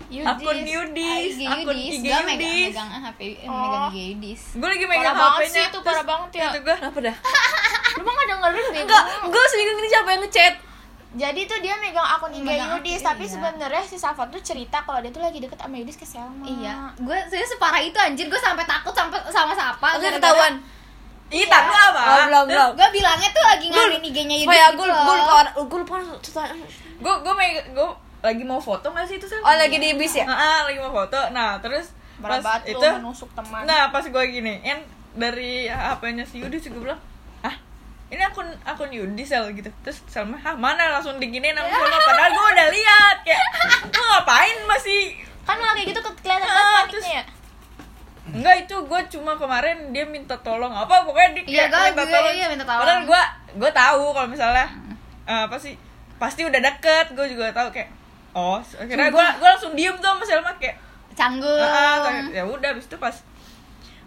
Yudis.
akun Yudis
Ah, IG
akun
Yudis,
IG
gue megang,
Yudis
megang HP, eh,
Oh.
megang IG Yudis.
gue lagi
Parah
megang
banget
HP-nya
sih itu, parah banget ya.
gue
Kenapa dah?
Lu mah gak dengerin Bego.
Enggak, gue sedikit ini siapa yang ngechat
Jadi tuh dia megang akun IG
Megang
Yudis,
akun,
tapi
iya.
sebenarnya si Safa tuh cerita kalau dia tuh lagi deket sama Yudis ke Selma.
Iya, gue serius separah itu anjir, gue sampai takut sampai sama siapa.
Enggak ketahuan
ih tak lu apa
Oh, belum, belum
Gue bilangnya tuh lagi
Gua-
ngarin IG-nya Yudis.
Supaya
gitu
gue
loh.
gue lupa orang- gue lupa orang-
gue gue gue lagi mau foto nggak sih itu Selma
Oh lagi di bis ya?
Iya.
Nah, ah, lagi mau foto. Nah, terus
Parah
pas
banget
itu
tuh menusuk teman.
Nah, pas gue giniin dari HP-nya si Yudi juga bilang, "Ah, ini akun akun Yudi sel gitu." Terus Selma, "Hah, mana langsung diginiin sama Selma padahal gue udah lihat." Kayak, "Lu ngapain masih
Kan kalau kayak gitu ke- kelihatan
Ah,
banget
terus-
paniknya ya.
Enggak itu gue cuma kemarin dia minta tolong apa pokoknya dia
Iya,
kayak
gua- gua- iya, minta tolong. Hmm.
Padahal gue gue tahu kalau misalnya eh, apa sih pasti udah deket gue juga tahu kayak oh akhirnya gue gue langsung diem tuh sama Selma kayak
Canggung.
Ah, kayak- ya udah abis itu pas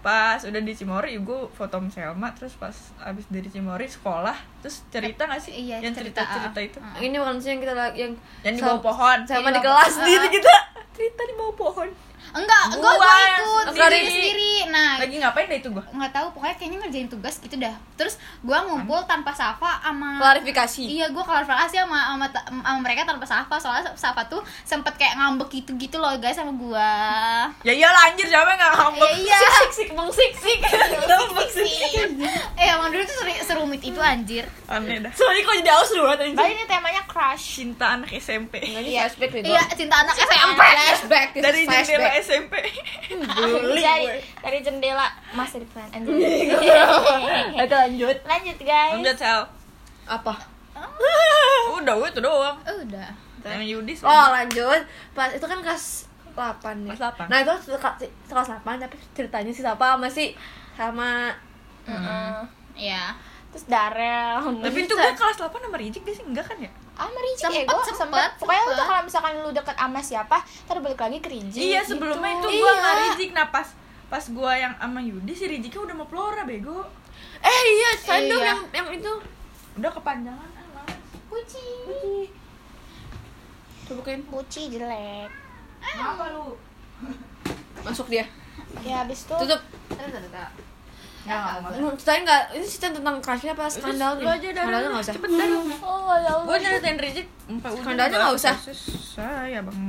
pas udah di Cimory gue foto sama Selma terus pas abis dari Cimory sekolah terus cerita nggak sih
Iya,
yang cerita
cerita,
cerita,
ah.
itu
Ini bukan sih yang kita lagi yang
yang di bawah pohon
sama di
Iya,
kelas
bawah-
diri
Ah.
kita cerita di bawah pohon
Enggak, gue
Gua
gue
yang
ikut
sendiri.
sendiri. sendiri. Nah,
lagi ngapain deh itu gue
nggak tahu pokoknya kayaknya ngerjain tugas gitu dah. Terus gue ngumpul tanpa Safa sama
klarifikasi
Iya, gue klarifikasi sama, sama, sama mereka tanpa Safa Soalnya Safa tuh sempet kayak ngambek gitu-gitu loh guys sama gue
ya iyalah anjir siapa yang nggak ngambek
Ya
Iya,
sik sik bang sik sik
Ngambek sih.
eh emang dulu tuh seri- serumit itu anjir
aneh dah
Sorry kok jadi aus lu banget
Padahal
anjing
ini temanya crush.
cinta anak SMP
Enggak ini
Iya.
flashback nih
Iya, cinta anak SMP
Flashback this is
dari jendela
flashback. Hmm,
SMP
Bully gue.
dari, Iya, dari jendela masa depan. Anjir.
Oke lanjut
Lanjut guys.
lanjut sel
Apa?
udah itu doang
Udah
sama Yudis
Oh lanjut Pas itu kan kelas 8 ya
Kelas 8.
Nah itu kelas kelas 8 tapi ceritanya sih siapa sama si sama
Heeh.
Iya
Terus Darel.
tapi itu gue kelas 8 sama Rijik gak sih enggak kan ya
ah merijik
Sempet,
ego
sempet,
sempet. Pokoknya lu tuh
sempet.
kalau misalkan lu deket sama siapa, ntar balik lagi ke Rijik.
Iya sebelumnya
gitu.
itu gue
Iya.
sama Rizik Nah pas pas gue yang sama Yudi si Riziknya udah mau Flora bego
Eh iya Sandung
Iya.
yang yang itu
Udah kepanjangan ah, males.
Puci.
Coba bukain
Puci jelek.
Kenapa lu?
Masuk dia
Ya habis itu
Tutup
Nggak, nggak mau
Hmm, Ceritain nggak? Ini cerita tentang crushnya apa skandalnya?
Lu aja dari
Skandalnya nggak usah
Cepetan
Oh, ya Allah.
Gue nyeritain Rizik Sampai ujung
Skandalnya
baru
nggak usah.
proses. Saya bang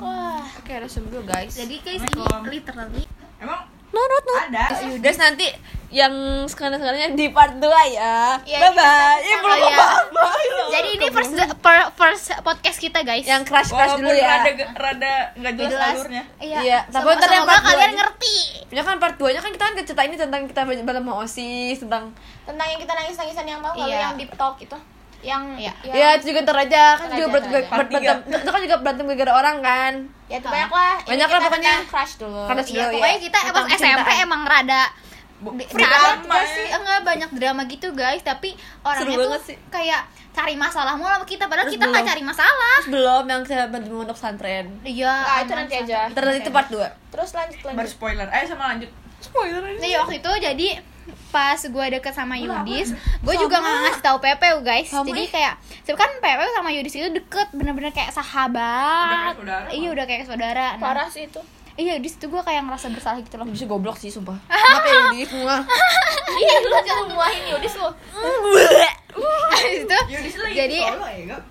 Wah.
Oke resum dulu guys
Jadi guys ini
Assalamualaikum.
literally
Emang
Nurut nurut
ada
Yudas nanti yang skandal-skandalnya di part 2 ya
Iya,
Bye-bye
ini
Ya belum
sama ya.
apa-apa
Jadi ini first, per- first podcast kita guys
Yang crush-crush
Walaupun
dulu ya
rada, rada nggak jelas,
Jelas.
alurnya
Iya,
Iya, tapi
Semoga,
ntar yang
semoga
part dua
kalian
aja.
ngerti
Ya kan part 2 nya kan kita kan cerita ini tentang kita berantem sama OSIS Tentang
Tentang yang kita nangis-nangisan yang tau nggak lu
Iya.
yang deep talk itu. Yang
Iya.
Ya, itu juga ntar aja kan
Ntar
juga berantem,
aja, ntar aja.
ber-
Part
berantem itu kan juga berantem gara-gara orang kan.
Ya itu banyak lah. Ini
Banyak lah
kita
pokoknya.
tentang crush dulu.
Crush
Iya,
dulu,
pokoknya
iya.
kita pas
Tentang
SMP
percintaan.
emang rada
Bu-
Di-
drama
saat gak
ya.
sih eh, enggak banyak drama gitu guys tapi orangnya
Seru banget
tuh
sih.
kayak cari masalah mulu sama kita padahal
Terus
kita nggak
belum.
cari masalah
Terus belum yang kita berantem untuk santren.
iya
Nah, itu
aman,
nanti
santai.
aja.
Ntar nanti itu part 2.
Terus lanjut
Baru
lanjut.
spoiler Ayo sama lanjut Spoiler aja
Nih waktu itu jadi pas gue deket sama Yudis, gue juga nggak ngasih tahu Pepe guys.
Sama.
Jadi kayak, sebenernya kan Pepe sama Yudis itu deket, bener-bener kayak sahabat.
Udah kayak saudara,
iya
malah.
udah kayak saudara. Nah,
Parah sih itu.
Iya di situ gue kayak ngerasa bersalah gitu loh.
Oh, Bisa goblok sih sumpah. Kenapa ya di semua?
Iya, lu jangan muahin Yudis lu.
Abis itu
Yudis lagi
jadi
solo ya Gak?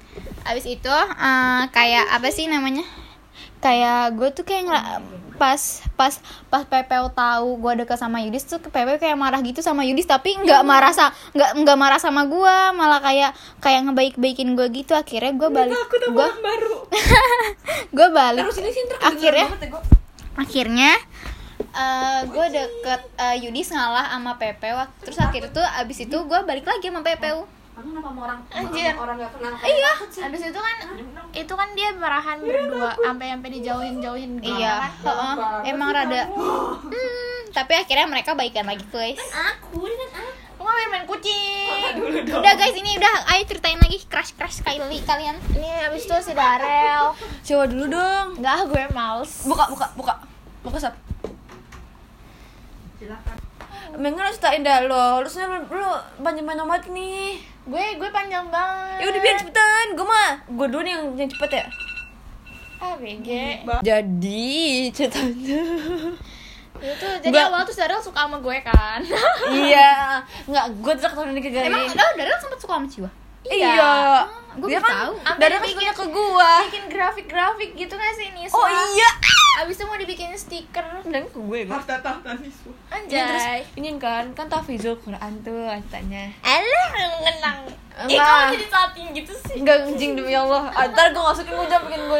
abis itu eh, kayak apa sih namanya kayak gue tuh kayak ngela pas pas pas Pepeo tahu gue deket sama Yudis tuh Pepeo kayak marah gitu sama Yudis tapi nggak marah sa nggak nggak marah sama gue malah kayak kayak ngebaik-baikin gue gitu akhirnya
Iya,
gue balik
aku tuh
gue
orang baru
gue balik
terus ini sih ntar kedengeran
akhirnya
banget ya, gua.
akhirnya gue deket eh, Yudis ngalah sama Pepe waktu terus akhirnya tuh abis itu gue balik lagi sama Pepeu
aku kenapa sama orang sama
Anjir.
orang gak kenal
iya
Abis itu kan itu kan dia marahan berdua sampai sampai dijauhin-jauhin gitu
iya
kan.
heeh. emang rada Hmm, tapi akhirnya mereka baikan lagi guys
Aku dia kan aku. Lu main main kucing.
udah guys ini udah ayo ceritain lagi crush crush kali kalian
Ini abis itu si Darel.
coba dulu dong
Enggak, gue males.
buka buka buka buka sap
silakan
Mendingan lu ceritain dah lo, lu sebenernya lu, lu panjang-panjang banget nih
Gue gue panjang banget.
Ya udah biar cepetan, gue mah Gue dulu nih yang, yang cepet ya
Ah, BG.
Jadi ceritanya
Itu jadi
Gua-
awal tuh si Darel suka sama gue kan.
Iya Nggak, gue terus tahun ini kegagalan
emang udah udah sempat suka sama Ciwa
Iya,
gua
Dia
baru tahu.
kan dari
Sampai
masuknya ke gue
Bikin grafik-grafik gitu gak sih Niswa?
Oh iya
Abis itu mau dibikin stiker.
Dan ke gue gue
harta tahta siswa
Iya, terus
Anjay.
ini kan, kan tafizul Quran tuh ceritanya
Alah, ngenang. Ih,
Emang.
kamu jadi salting gitu sih.
Enggak anjing demi Allah. Ah, Ntar gue masukin hujan bikin gue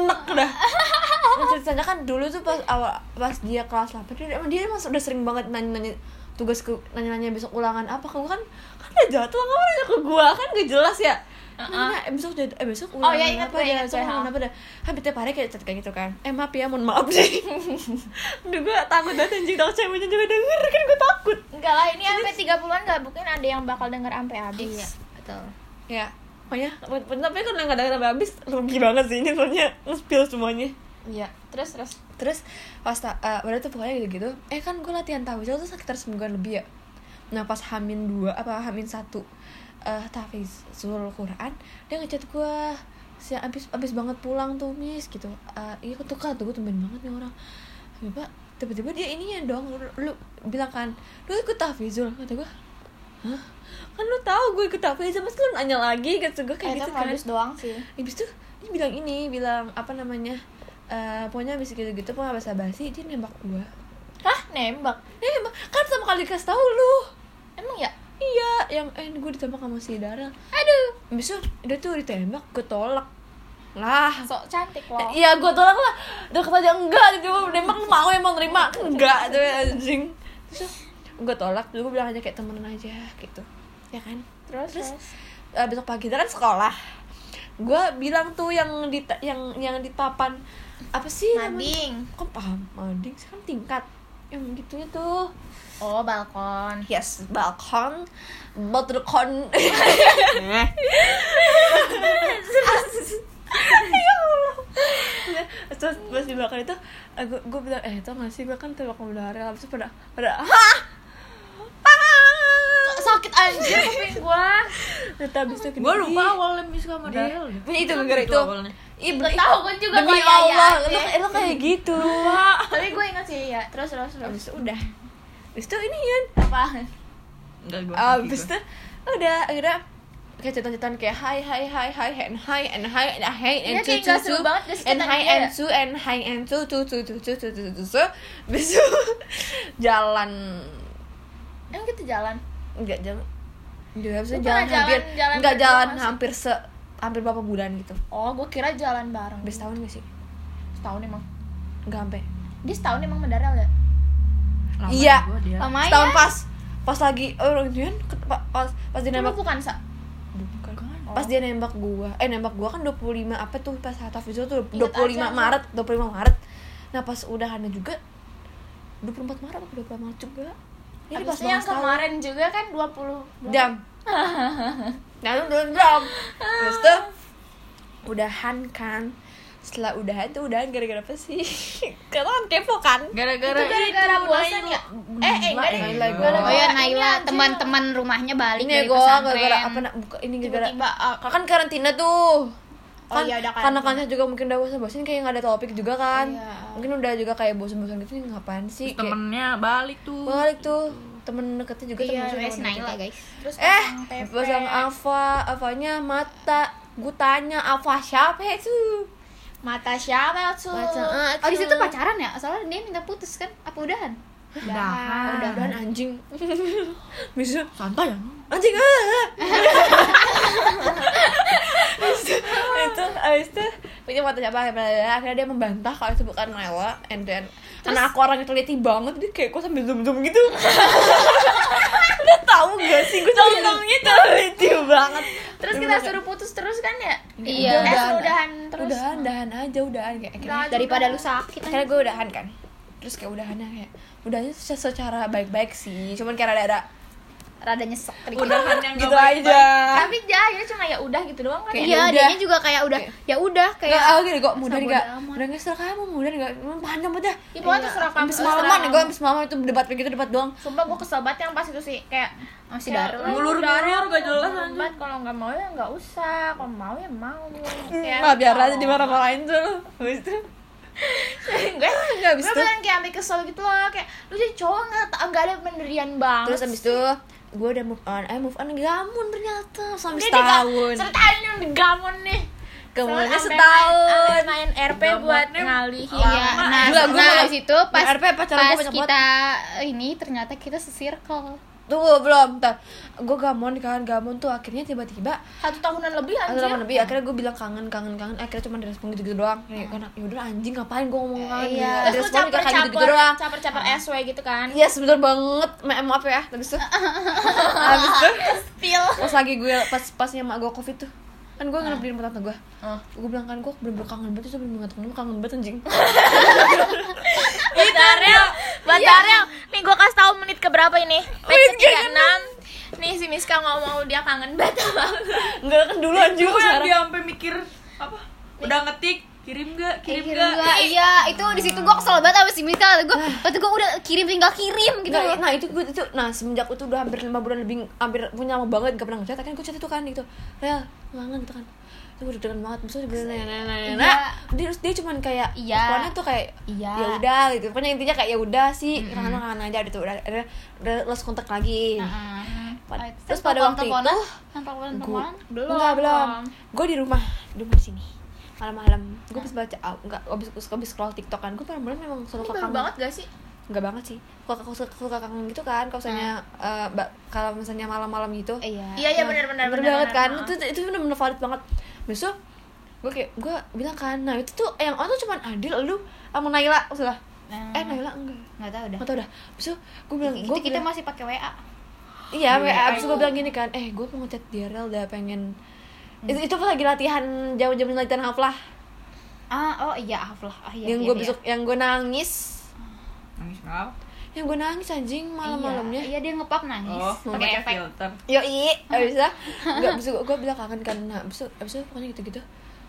enek dah. Nah, ceritanya kan dulu tuh pas awal pas dia kelas 8 dia emang dia masih udah sering banget nanya-nanya tugas ke nanya-nanya besok ulangan apa ke gue kan kan ada jadwal kamu nanya ke gue kan gak jelas ya Nanya, eh, besok jad- eh, besok ulangan
Uh-uh. iya, ingat
apa
gue,
ya
ingat gue,
besok ulangan
ha.
apa dah hampir tiap hari kayak chat kayak gitu kan eh maaf ya mohon maaf sih Aduh gue takut banget anjing takut ceweknya juga denger kan gue takut
Enggak lah, ini sampai 30-an gak mungkin ada yang bakal denger sampai habis.
iya betul
ya pokoknya tapi kan nggak ada sampai habis rugi banget sih ini soalnya nge-spill semuanya
Iya. Terus terus.
terus pas ta- eh, udah tuh pokoknya gitu gitu eh kan gue latihan tafizul tuh sekitar semingguan lebih ya nah pas hamin dua apa hamin satu eh tafizul Quran dia ngechat gue si abis abis banget pulang tuh mis gitu Eh, iya tuh kan tuh gue tumben banget nih orang tiba tiba-tiba dia ininya dong lu, lu bilang kan lu ikut tafizul kata gue Hah? kan lu tahu gue ikut tafizul masa lu nanya lagi gitu gue
Eh,
kayak
itu
gitu kan
modus doang sih.
habis itu dia bilang ini bilang apa namanya eh pokoknya habis gitu gitu pokoknya basa basi dia nembak gua
Hah, nembak.
dia nembak kan sama kali kasih tahu lu
Emang ya?
iya yang eh gua ditembak sama si Dara
Aduh,
habis itu dia tuh ditembak gua tolak lah
sok cantik loh.
Ah. iya gua tolak lah udah kata aja enggak dia cuma nembak mau emang terima enggak tuh anjing terus gua tolak dulu gua bilang aja kayak temenan aja gitu ya kan
Terus terus.
Eh, besok pagi itu kan sekolah gue bilang tuh yang di yang yang di papan apa sih namanya?
Mading.
kok paham mading sih kan tingkat yang gitunya tuh
Oh, balkon.
yes balkon Eh. balkon Ya terus pas di belakang itu gue gue bilang eh tau gak sih gue kan tembak pembelajaran habis itu pada pada hah Ah!"
Sakit anjir kuping gua.
Terus habis itu
gue
gini-
lupa awalnya miss sama dia
Punya itu gara itu.
awalnya.
Ibu
Nggak tahu, gua juga
Demi
kayak
Allah,
ya,
lu,
deh.
lu kayak gitu.
Ah, Tapi gue ingat sih ya. Terus terus terus.
Abis itu udah. Abis itu ini kan.
Apa?
enggak gue
Abis itu udah akhirnya kayak cetan-cetan kayak hi hi hi hi and hi and hi and hi and
Iya,
tu
kayak
tu
nggak
tu
seru banget, terus
and hi
cetan dia.
and tu and hi and tu tu tu tu tu tu tu tu tu Abis itu jalan
Emang kita jalan.
nggak jalan Dia habis itu
Lu
jalan
pernah jalan-
hampir
jalan
nggak
berdua
jalan
nggak sih?
hampir se hampir berapa bulan gitu.
Oh, gue kira jalan bareng.
Habis tahun gak sih?
setahun emang.
Nggak sampai.
Dia setahun emang mendaral ya?
Iya.
lumayan
Setahun pas pas lagi oh dia kan ke- pa- pas pas dia
Lu
nembak
bukan, Sa?
bukan. pas dia nembak gua eh nembak gua kan 25 apa tuh pas hataf itu tuh
Ingat
25
aja, lu.
Maret 25 Maret nah pas udahannya juga 24 Maret apa 25 Maret juga ini pas
Abis itu yang
banget tahun
kemarin juga kan 20
jam nah itu belum jam terus tuh udahan kan setelah udahan tuh udahan gara-gara apa sih karena kan kepo kan
gara-gara
Itu gara-gara
itu,
bosan
Naila.
ya? Eh, eh, enggak deh.
Naila gua.
Gara-gara-
oh ya
Ini
Naila
anjir.
teman-teman rumahnya balik
ini
dari
gue gara-gara
pesantren
apa nak buka ini gara-gara
Tiba-tiba ah,
Kakak kan karantina tuh
Oh
kan,
iya, udah
karena
karantina.
kan juga mungkin udah bosan bosan kayak nggak ada topik juga kan
Iya.
mungkin udah juga kayak bosan-bosan gitu "Ini ngapain sih kayak
temennya balik tuh
balik tuh temen deketnya juga
iya
temen
namanya si
temen
Naila
deket.
guys
terus
eh
pasang
pasang
pepes.
Ava Avanya mata gue tanya apa siapa itu
Mata siapa tuh?
Baca-
Oh di situ pacaran ya? Soalnya dia minta putus kan? Apa udahan?
Ah,
Udahan.
udah udahan anjing bisa
santai ya
anjing ah, ah. Abis itu itu abis itu punya foto siapa blablabla. akhirnya dia membantah kalau itu bukan Naila and then karena aku orang yang teliti banget dia kayak gue sambil zoom zoom gitu udah tahu gak sih gue zoom zoom gitu teliti banget
Terus kita suruh putus terus kan ya?
Iya,
Eh,
udahan.
suruh udahan terus.
udahan udahan aja udahan kayak kayak-
Udahan.
Daripada lu sakit
akhirnya gue udahan kan terus kayak udahannya kayak udahannya se- secara baik-baik sih cuman kayak ada ada
Rada nyesek dikit.
udahan yang
gitu aja
Tapi dia akhirnya cuma ya udah gitu doang kan.
Kayak
Iya,
ya udah.
dia juga kayak udah ya udah kayak
Nggak, aku gini kok mudah
Sabar
enggak
amat. Iya,
mudah enggak serah kamu mudah enggak mana udah
Ya pokoknya terserah
iya, sampai
kamu.
kan semalaman
terserah
gue
kamu.
sampai semalaman itu debat begitu debat doang
Sumpah gue kesel banget yang pas itu sih kayak
masih
kayak,
darah.
lu
Ngulur-ngulur,
udahan,
gak jelas,
ngulur
anjing.
banget. Kalau nggak mau ya nggak usah. Kalau mau ya mau.
Iya,
Kayak
Mm, nggak biar aja
kalau-
dimarah-marahin tuh habis itu
Gue
nggak habis
gue
itu
eh, bilang kayak sampai kesel gitu loh kayak lu jadi cowok nggak nggak ada pendirian banget.
terus habis itu gue udah move on eh move on gamun ternyata sampai
Dia diga-
setahun
Setahun yang digamon nih.
kemudian
Sampai
Ah.
setahun
main- main RP buat ngalihin.
Iya,
Lama.
nah,
Gila, gua
nah,
malah-
habis itu pas
BRP pacaran gua
pas
banyak banget.
kita ini ternyata kita se-circle.
tuh belum tuh gue gamon kan gamon tuh akhirnya tiba-tiba
Satu tahunan lebih
atau
anjir.
lama lebih akhirnya gue bilang kangen kangen kangen akhirnya cuma direspon gitu gitu doang kayak karena yaudah anjing ngapain gue ngomong kangen
Ah.
gitu.
Iya.
Terus lu
direspon juga
caper
kayak gitu
caper
gitu doang
caper caper SW gitu kan.
Iya sebentar banget, Ma- maaf ya. Habis itu, habis itu
Feel.
pas lagi gue pas pasnya mak gue covid tuh, kan gue nginep di rumah tante gue. Gue bilang kan gue belum kangen banget, tuh belum kangen banget, kangen banget anjing.
Batarel, Batarel. Nih gue kasih tahu menit keberapa ini. Menit ke enam. Nih si Miska ngomong dia kangen banget sama lu.
Enggak kan dulu anjing
Iya,
gue
gue
yang
sekarang.
dia sampai mikir apa udah ngetik kirim gak kirim
Kirim
gak
gak? Iya, itu di situ gua kesel banget sama si Mika. Gua waktu gua udah kirim tinggal kirim gitu
Ah. Nggak,
loh.
nah itu gue itu nah semenjak itu udah hampir lima bulan lebih hampir punya lama banget gak pernah ngechat kan gue chat itu kan gitu rel kangen gitu kan itu gue deg-degan banget maksudnya sebenarnya nah, nah, nah, nah. dia terus dia cuman kayak
Iya.
responnya tuh kayak
Iya.
ya udah gitu pokoknya intinya kayak ya udah sih kangen kangen aja gitu udah udah, udah lost kontak lagi
ah. Nah,
Pad- Nah, terus pada waktu itu gue
Telepon-teleponan?
belum
Belum,
enggak, belum
belum.
gue di rumah di rumah di sini malam-malam gue habis baca ah, enggak habis habis scroll tiktok kan gue malam-malam memang selalu
Ini
ke
baru
kamar
banget gak sih?
nggak banget sih kok aku suka suka kangen gitu kan kalau misalnya eh, ba- kalau misalnya malam-malam gitu
Iya.
Iya iya benar benar
bener banget kan itu itu bener-bener valid banget besok gue kayak gue bilang kan nah itu tuh yang on tuh cuman adil lu sama Naila salah
Nah,
eh Naila enggak
nggak tahu dah.
nggak tau dah besok gue bilang
Kita,
gue
kita
bilang-
masih pakai WA.
iya WA abis gue bilang gini kan eh gue mau ngechat dia rel udah pengen itu itu pas lagi latihan jauh jam latihan haflah
Ah, oh iya, haflah. Ah, iya,
yang
iya,
gue
iya.
besok yang gue nangis
nangis ngap
yang gue nangis anjing malam-malamnya
Iya, iya, dia ngepap nangis.
oh
Pakai
pakai
efek.
filter
Yoi, abis itu Gak, abis itu gue bilang kangen kan Nah, abis itu, abis itu pokoknya gitu-gitu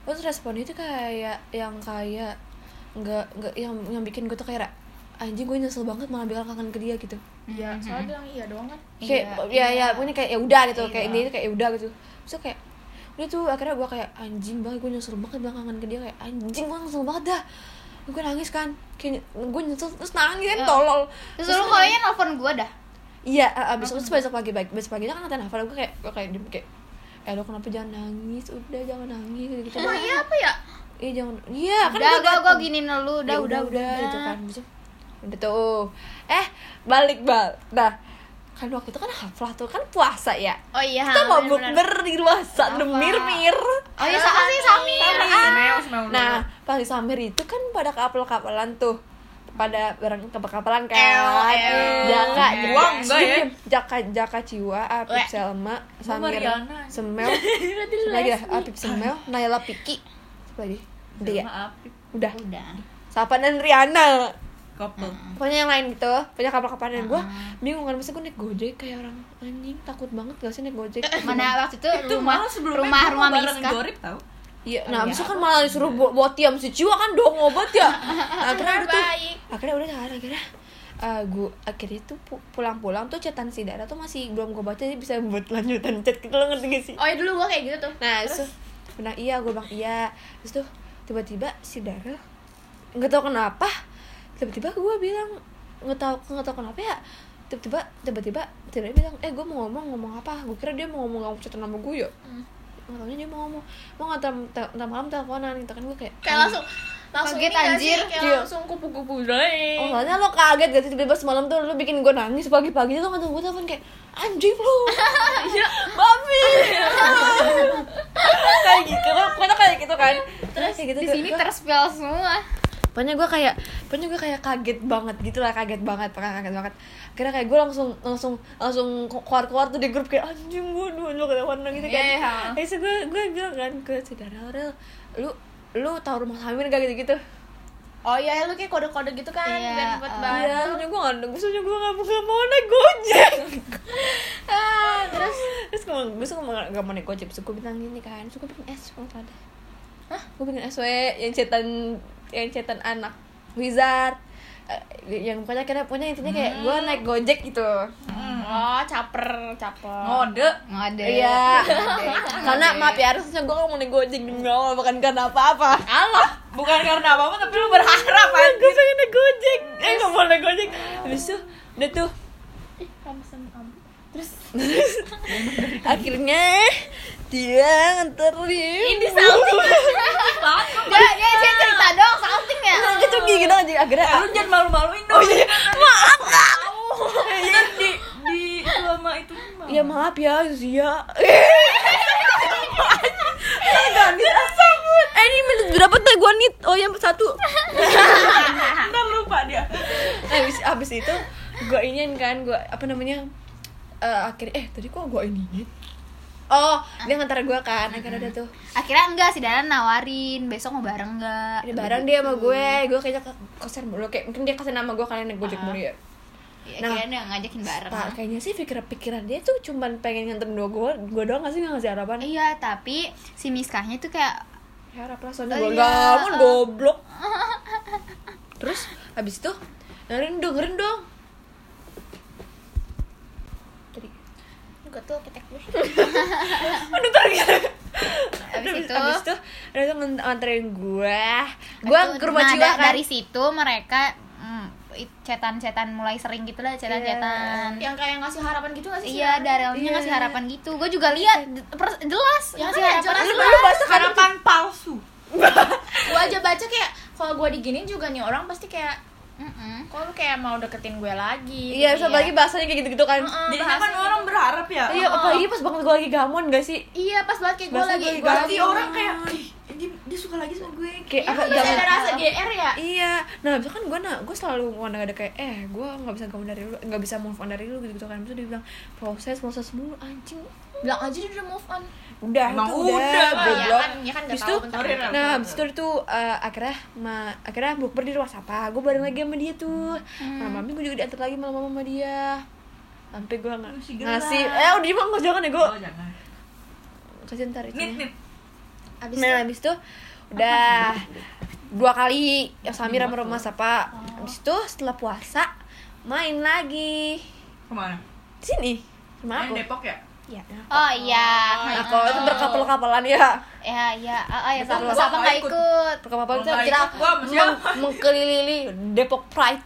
Terus responnya itu kayak Yang kayak Gak, gak yang, yang bikin gue tuh kayak Anjing gue nyesel banget malah bilang kangen ke dia gitu
Iya,
Mhm.
soalnya bilang iya doang kan.
Kayak,
Iya,
ya,
iya.
ya, pokoknya kayak ya udah gitu Kayak
Iya.
ini kayak ya udah gitu Abis itu kayak Udah tuh, akhirnya gue kayak Anjing banget, gue nyesel banget bilang kangen ke dia Kayak anjing gue nyesel banget dah gue nangis kan kayak gue nyesel terus nangis kan
Iya.
tolol
Terus lu ya? kayaknya nelfon gua dah.
Iya, uh, abis itu besok pagi pagi besok paginya kan latihan hafal gue kayak gue kayak diem kayak eh lo kenapa jangan nangis udah jangan nangis gitu gitu
Emang iya apa ya?
iya jangan iya kan
Udah, gua gua
dateng.
giniin lu,
Ya
udah, udah, udah.
gitu kan Abis itu, udah tuh eh balik bal nah kan waktu itu kan haflah tuh kan puasa ya
Oh iya.
Ah,
kita mau
bener-bener.
bukber di luar sambil
Haflah.
mir mir
Oh iya, sama sih, Samir.
semeo semeo
nah pas di samir itu kan pada kapal kapalan tuh pada barang kapal kapalan kan
El, el.
jaka
Eh, gua enggak ya.
Diam, jaka jaka ciwa apip
Weh.
selma samir
Mariana.
semel Satu lagi dah apip semel naila piki Satu lagi udah ya
maaf
udah
Udah.
Sapan dan Riana
couple
pokoknya yang lain gitu punya kapal-kapalan gue bingung kan masa gue naik gojek kayak orang anjing takut banget gak sih naik gojek
Mana waktu itu
itu
rumah
malah sebelumnya
rumah
gua
rumah
mau bareng
Miska.
Jorip tau
Iya, nah abis itu kan malah disuruh bo buat tiam si Ciwa kan dong obat ya. akhirnya udah tuh,
Baik.
akhirnya udah kan akhirnya eh gua akhirnya tuh pu- pulang-pulang tuh chatan si Dara tuh masih belum gue baca jadi bisa buat lanjutan chat gitu lo ngerti gak sih?
Oh iya dulu gue kayak gitu tuh.
Nah, terus benar iya gue bilang iya. Terus tuh tiba-tiba si Dara nggak tahu kenapa tiba-tiba gue bilang nggak tahu nggak tahu kenapa ya tiba-tiba tiba-tiba tiba-tiba bilang eh gue mau ngomong ngomong apa gue kira dia mau ngomong ngomong cerita nama gue ya nggak taunya dia mau ngomong mau nggak tam tam tam malam teleponan gitu kan gue kayak
kayak langsung langsung
Kaget,
ini nggak sih?
anjir.
kayak
Iya.
langsung kupu-kupu deh
Oh, soalnya lo kaget gak sih tiba-tiba semalam tuh lo bikin gue nangis pagi-pagi tuh ngantong gue telepon kayak anjing lo. Iya, babi. kayak gitu, lo pokoknya kayak gitu kan. Terus kayak gitu
di
tuh,
sini
gua-
terspel semua
Pokoknya gue kayak, pokoknya gue kayak kaget banget gitu lah, kaget banget, pokoknya kaget banget. Karena kayak gue langsung langsung langsung keluar-keluar tuh di grup kayak anjing gue dua lo ketahuan lagi gitu kan.
Iya.
Kayak so, gue gue bilang kan ke saudara Aurel, lu lu tahu rumah Samir gak gitu-gitu?
oh iya lu kayak kode-kode gitu kan
Iya,
biar buat
eh.
bahan
Iya, soalnya gue nggak, soalnya gue nggak nggak mau naik gojek.
Ah, terus
terus gue gue suka nggak nggak mau naik gojek, terus gue bilang gini kan, terus gue bikin S, gue ada. Hah? Gue bikin SW yang cetan yang cetan anak wizard. Eh, yang pokoknya kira punya intinya kayak gue naik gojek gitu.
oh caper caper
ngode
nggak ada
Iya. Karena maaf ya, harusnya gue nggak mau naik gojek dari awal bukan karena apa-apa.
Allah bukan karena apa apa tapi lu berharap
Apaan gue
anjir
pengen naik gojek? Eh nggak mau naik gojek. Habis itu udah tuh akhirnya dia nganterin
ini salting
dia dia dia Ya, cerita doang something ya
Nah, gitu gitu gitu aja akhirnya
lu jangan malu-maluin dong
maaf kak
Kayaknya di di selama itu mah.
ya maaf ya Zia Enggak bisa sebut. Eh ini menit berapa tuh gua nit? Oh yang satu.
ntar lupa dia
Abis abis itu gua ingin kan gua apa namanya? eh akhirnya eh tadi kok gua ingin Oh, dia ngantar gua kan, akhirnya udah tuh
akhirnya enggak si Dara nawarin besok mau bareng enggak
Ini bareng dia sama gue, gue kayaknya ke kosan mulu Kayak mungkin dia kasih nama gue kalian naik gojek mulu ya
Ya,
Nah.
akhirnya dia ngajakin bareng
Tak, kayaknya sih pikiran-pikiran dia tuh cuman pengen nganterin dua gue Gue doang gak sih gak ngasih harapan? Ya,
iya tapi si Miskahnya tuh kayak
Harap lah soalnya
Oh,
gue
iya.
gak mau
Ah.
goblok Terus habis itu dengerin dong, dengerin dong Tadi
juga tuh ketek gue
Aduh ntar gitu
Habis itu-
Habis itu Dia tuh ngant- nganterin gue Gue
Itu-
ke rumah
nah,
Ciwa
da-
kan
dari situ mereka mm, i- cetan-cetan mulai sering gitu
Iya,
lah
Ya,
cetan-cetan
yang kayak ngasih harapan gitu nggak sih
Iya, Darelnya
Iya.
ngasih harapan gitu. Gue juga lihat per- jelas
Ya
ngasih
kan,
harapan.
jelas.
Lu baru bahasa kan
harapan palsu
gue aja baca kayak kalau gue diginin juga nih orang pasti kayak
Mm-mm.
kok lu kayak mau deketin gue lagi Gitu, ya.
Iya, terus apalagi bahasanya kayak gitu-gitu kan
Heeh,
jadi
bahasanya
kan orang berharap ya
Iya, apalagi pas banget gue lagi gamon gak sih?
iya pas banget kayak gue
Bahasa
lagi
gue
gue
ganti
berarti
lagi
orang kayak "Ih, dia, dia suka lagi sama gue
Kayak apa,
Iya,
jangan
ada rasa GR ya
Iya, nah abis itu kan gue nah, gue selalu mana ada kayak eh gue nggak bisa kamu dari lu, nggak bisa move on dari lu gitu gitu kan, terus dia bilang proses proses mulu anjing,
bilang aja dia udah move on
udah
Emang
itu
udah,
Oh,
Ah, goblok.
iya kan, ya kan gak
Abis
tahu
itu-
bentar.
Sorry, Ra.
Nah, habis itu tuh eh, akhirnya ma akhirnya bukber di rumah siapa? Gue bareng lagi sama dia tuh.
Hmm.
Malam-malam gue juga diantar lagi malam-malam sama dia. Sampai gue nggak
Masih gelap.
ngasih, eh udah dimakan nggak jangan ya gue
oh jangan
kasih ntar itu.
Oh. nit nit
Abis itu,
Nah, habis itu udah dua kali yang Samir sama rumah siapa? Habis itu setelah puasa main lagi
kemana
sini sama
main
aku.
Depok ya
Iya.
Oh iya.
Aku itu berkapel-kapelan ya.
Ya ya, oh, oh, ya
Betul,
sama
gua
sama
nggak
nggak
ikut.
ikut.
Berkapel-kapelan
Oh,
itu
nggak
kita
ikut gua sama siapa?
meng- mengkelilingi Depok Pride.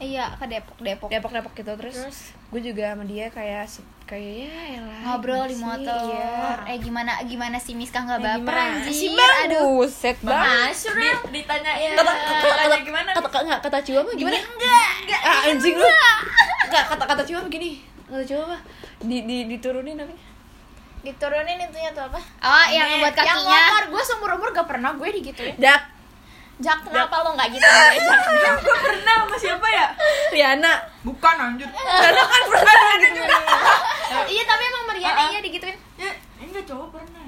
Iya, ke Depok, Depok.
Depok-depok gitu terus, gue juga sama dia kayak se- kayak ya elah,
Ngobrol
gimana
di
sih?
motor.
Iya.
Eh gimana gimana si Miskah
Eh,
nggak baper
gimana
anjir?
sih, Bang?
Aduh.
Buset banget.
masuk Ra.
ditanyain
Kata kata kata
tanya Eh, gimana
kata kata kata Ciwa mah gimana?
Enggak.
ah anjing lu nggak kata kata cuma begini kata cuma apa di di diturunin apa
diturunin itunya tuh apa
Oh, yang buat
Iya,
kakinya.
yang motor gue seumur umur gak pernah gue digituin
dak
Jak kenapa lo gak gitu Jak
gue pernah sama siapa ya
Riana
bukan anjir
Riana kan pernah gitu
iya tapi emang Mariana iya digituin
ya enggak cowok pernah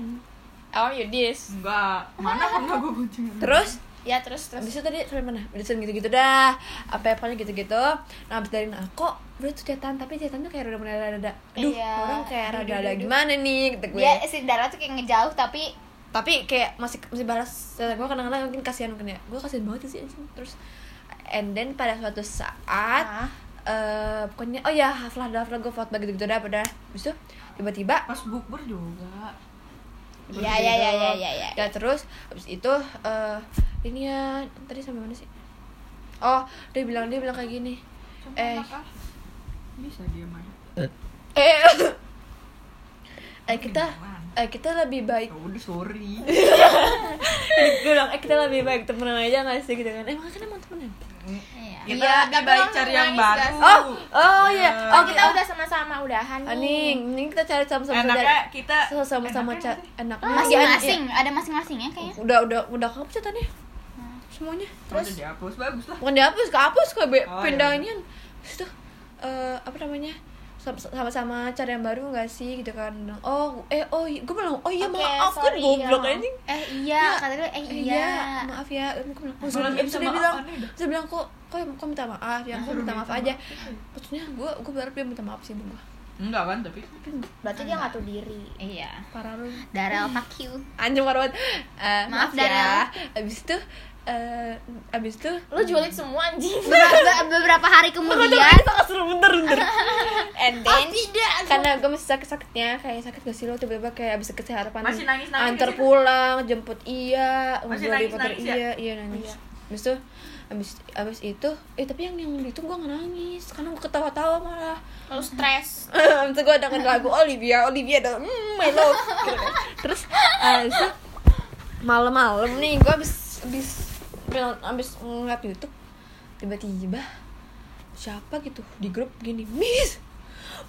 oh Yudis
enggak mana pernah gue guncingan
iya, terus
ya terus terus
abis itu tadi sampai mana udah gitu gitu dah apa apanya gitu gitu nah abis dari aku udah tuh cetan tapi cetan tuh kayak udah mulai rada rada aduh
Iya.
orang kayak rada rada gimana nih kata gue
Dia si Dara tuh kayak ngejauh tapi
tapi kayak masih masih balas gue kadang-kadang mungkin kasihan mungkin ya gue kasihan banget sih anjing. terus and then pada suatu saat
Ah.
eh pokoknya oh ya haflah dah haflah gue vote begitu gitu dah pada habis itu tiba-tiba
pas bukber juga
Iya, iya, iya, iya, iya, iya.
ya terus habis itu eh ini ya tadi sampai mana sih oh dia bilang dia bilang kayak gini eh
bisa dia main
eh eh kita
Gimana?
eh kita lebih baik
Ya udah sorry
gue bilang eh kita lebih baik temenan aja nggak sih gitu kan emang kan emang temenan
Iya.
kita
Iya,
lebih
tapi
baik
orang
cari yang
nangis,
baru
guys.
oh oh iya
Ya.
Oh,
oke
kita udah sama-sama udahan nih.
aning ini kita cari sama-sama
enaknya kita
cari sama-sama
enaknya
cari enaknya Iya,
Masing-masing, ada masing-masing ya kayaknya.
udah udah udah kehapus ya tadi semuanya
terus dihapus bagus lah
bukan dihapus kehapus ke be-
Oh,
pindahin terus tuh eh, apa namanya Sam- sama-sama cari yang baru nggak sih gitu kan Bilang, oh eh oh gue bilang oh iya
Oke,
maaf kan
sorry,
goblok
ya.
anjing
Eh
Iya.
iya, kata dia eh iya.
iya maaf ya Aku bilang, oh,
Malah
sudah
minta
sudah
maaf,
bilang
aneh dah.
sudah bilang kok kok kok minta maaf ya kok minta maaf aja maksudnya gue gue berharap dia minta maaf sih sama gue
enggak kan tapi
Berarti dia nggak tahu diri.
Iya.
parah lu
Darel fuck you.
anjing parah banget Eh,
Maaf,
maaf, ya
Dara.
abis itu eh, abis itu
Lu julid semua anjing.
Beberapa, beberapa hari kemudian
sangat Eh, seru bentar bentar and then
tidak.
karena gue masih sakit sakitnya kayak sakit gak sih lo tiba-tiba kayak abis ke harapan
Masih nangis-nangis
antar
gitu?
pulang jemput iya
Masih
gua
nangis-nangis
diputer
ya?
iya iya nangis abis itu abis abis itu eh tapi yang yang itu gue nggak nangis karena gue ketawa-tawa malah
Lu stres.
abis itu gue dengerin lagu Olivia Olivia dan mm, my love gitu kan. terus abis itu malam-malam nih gue abis abis abis ngeliat YouTube tiba-tiba siapa gitu di grup gini Miss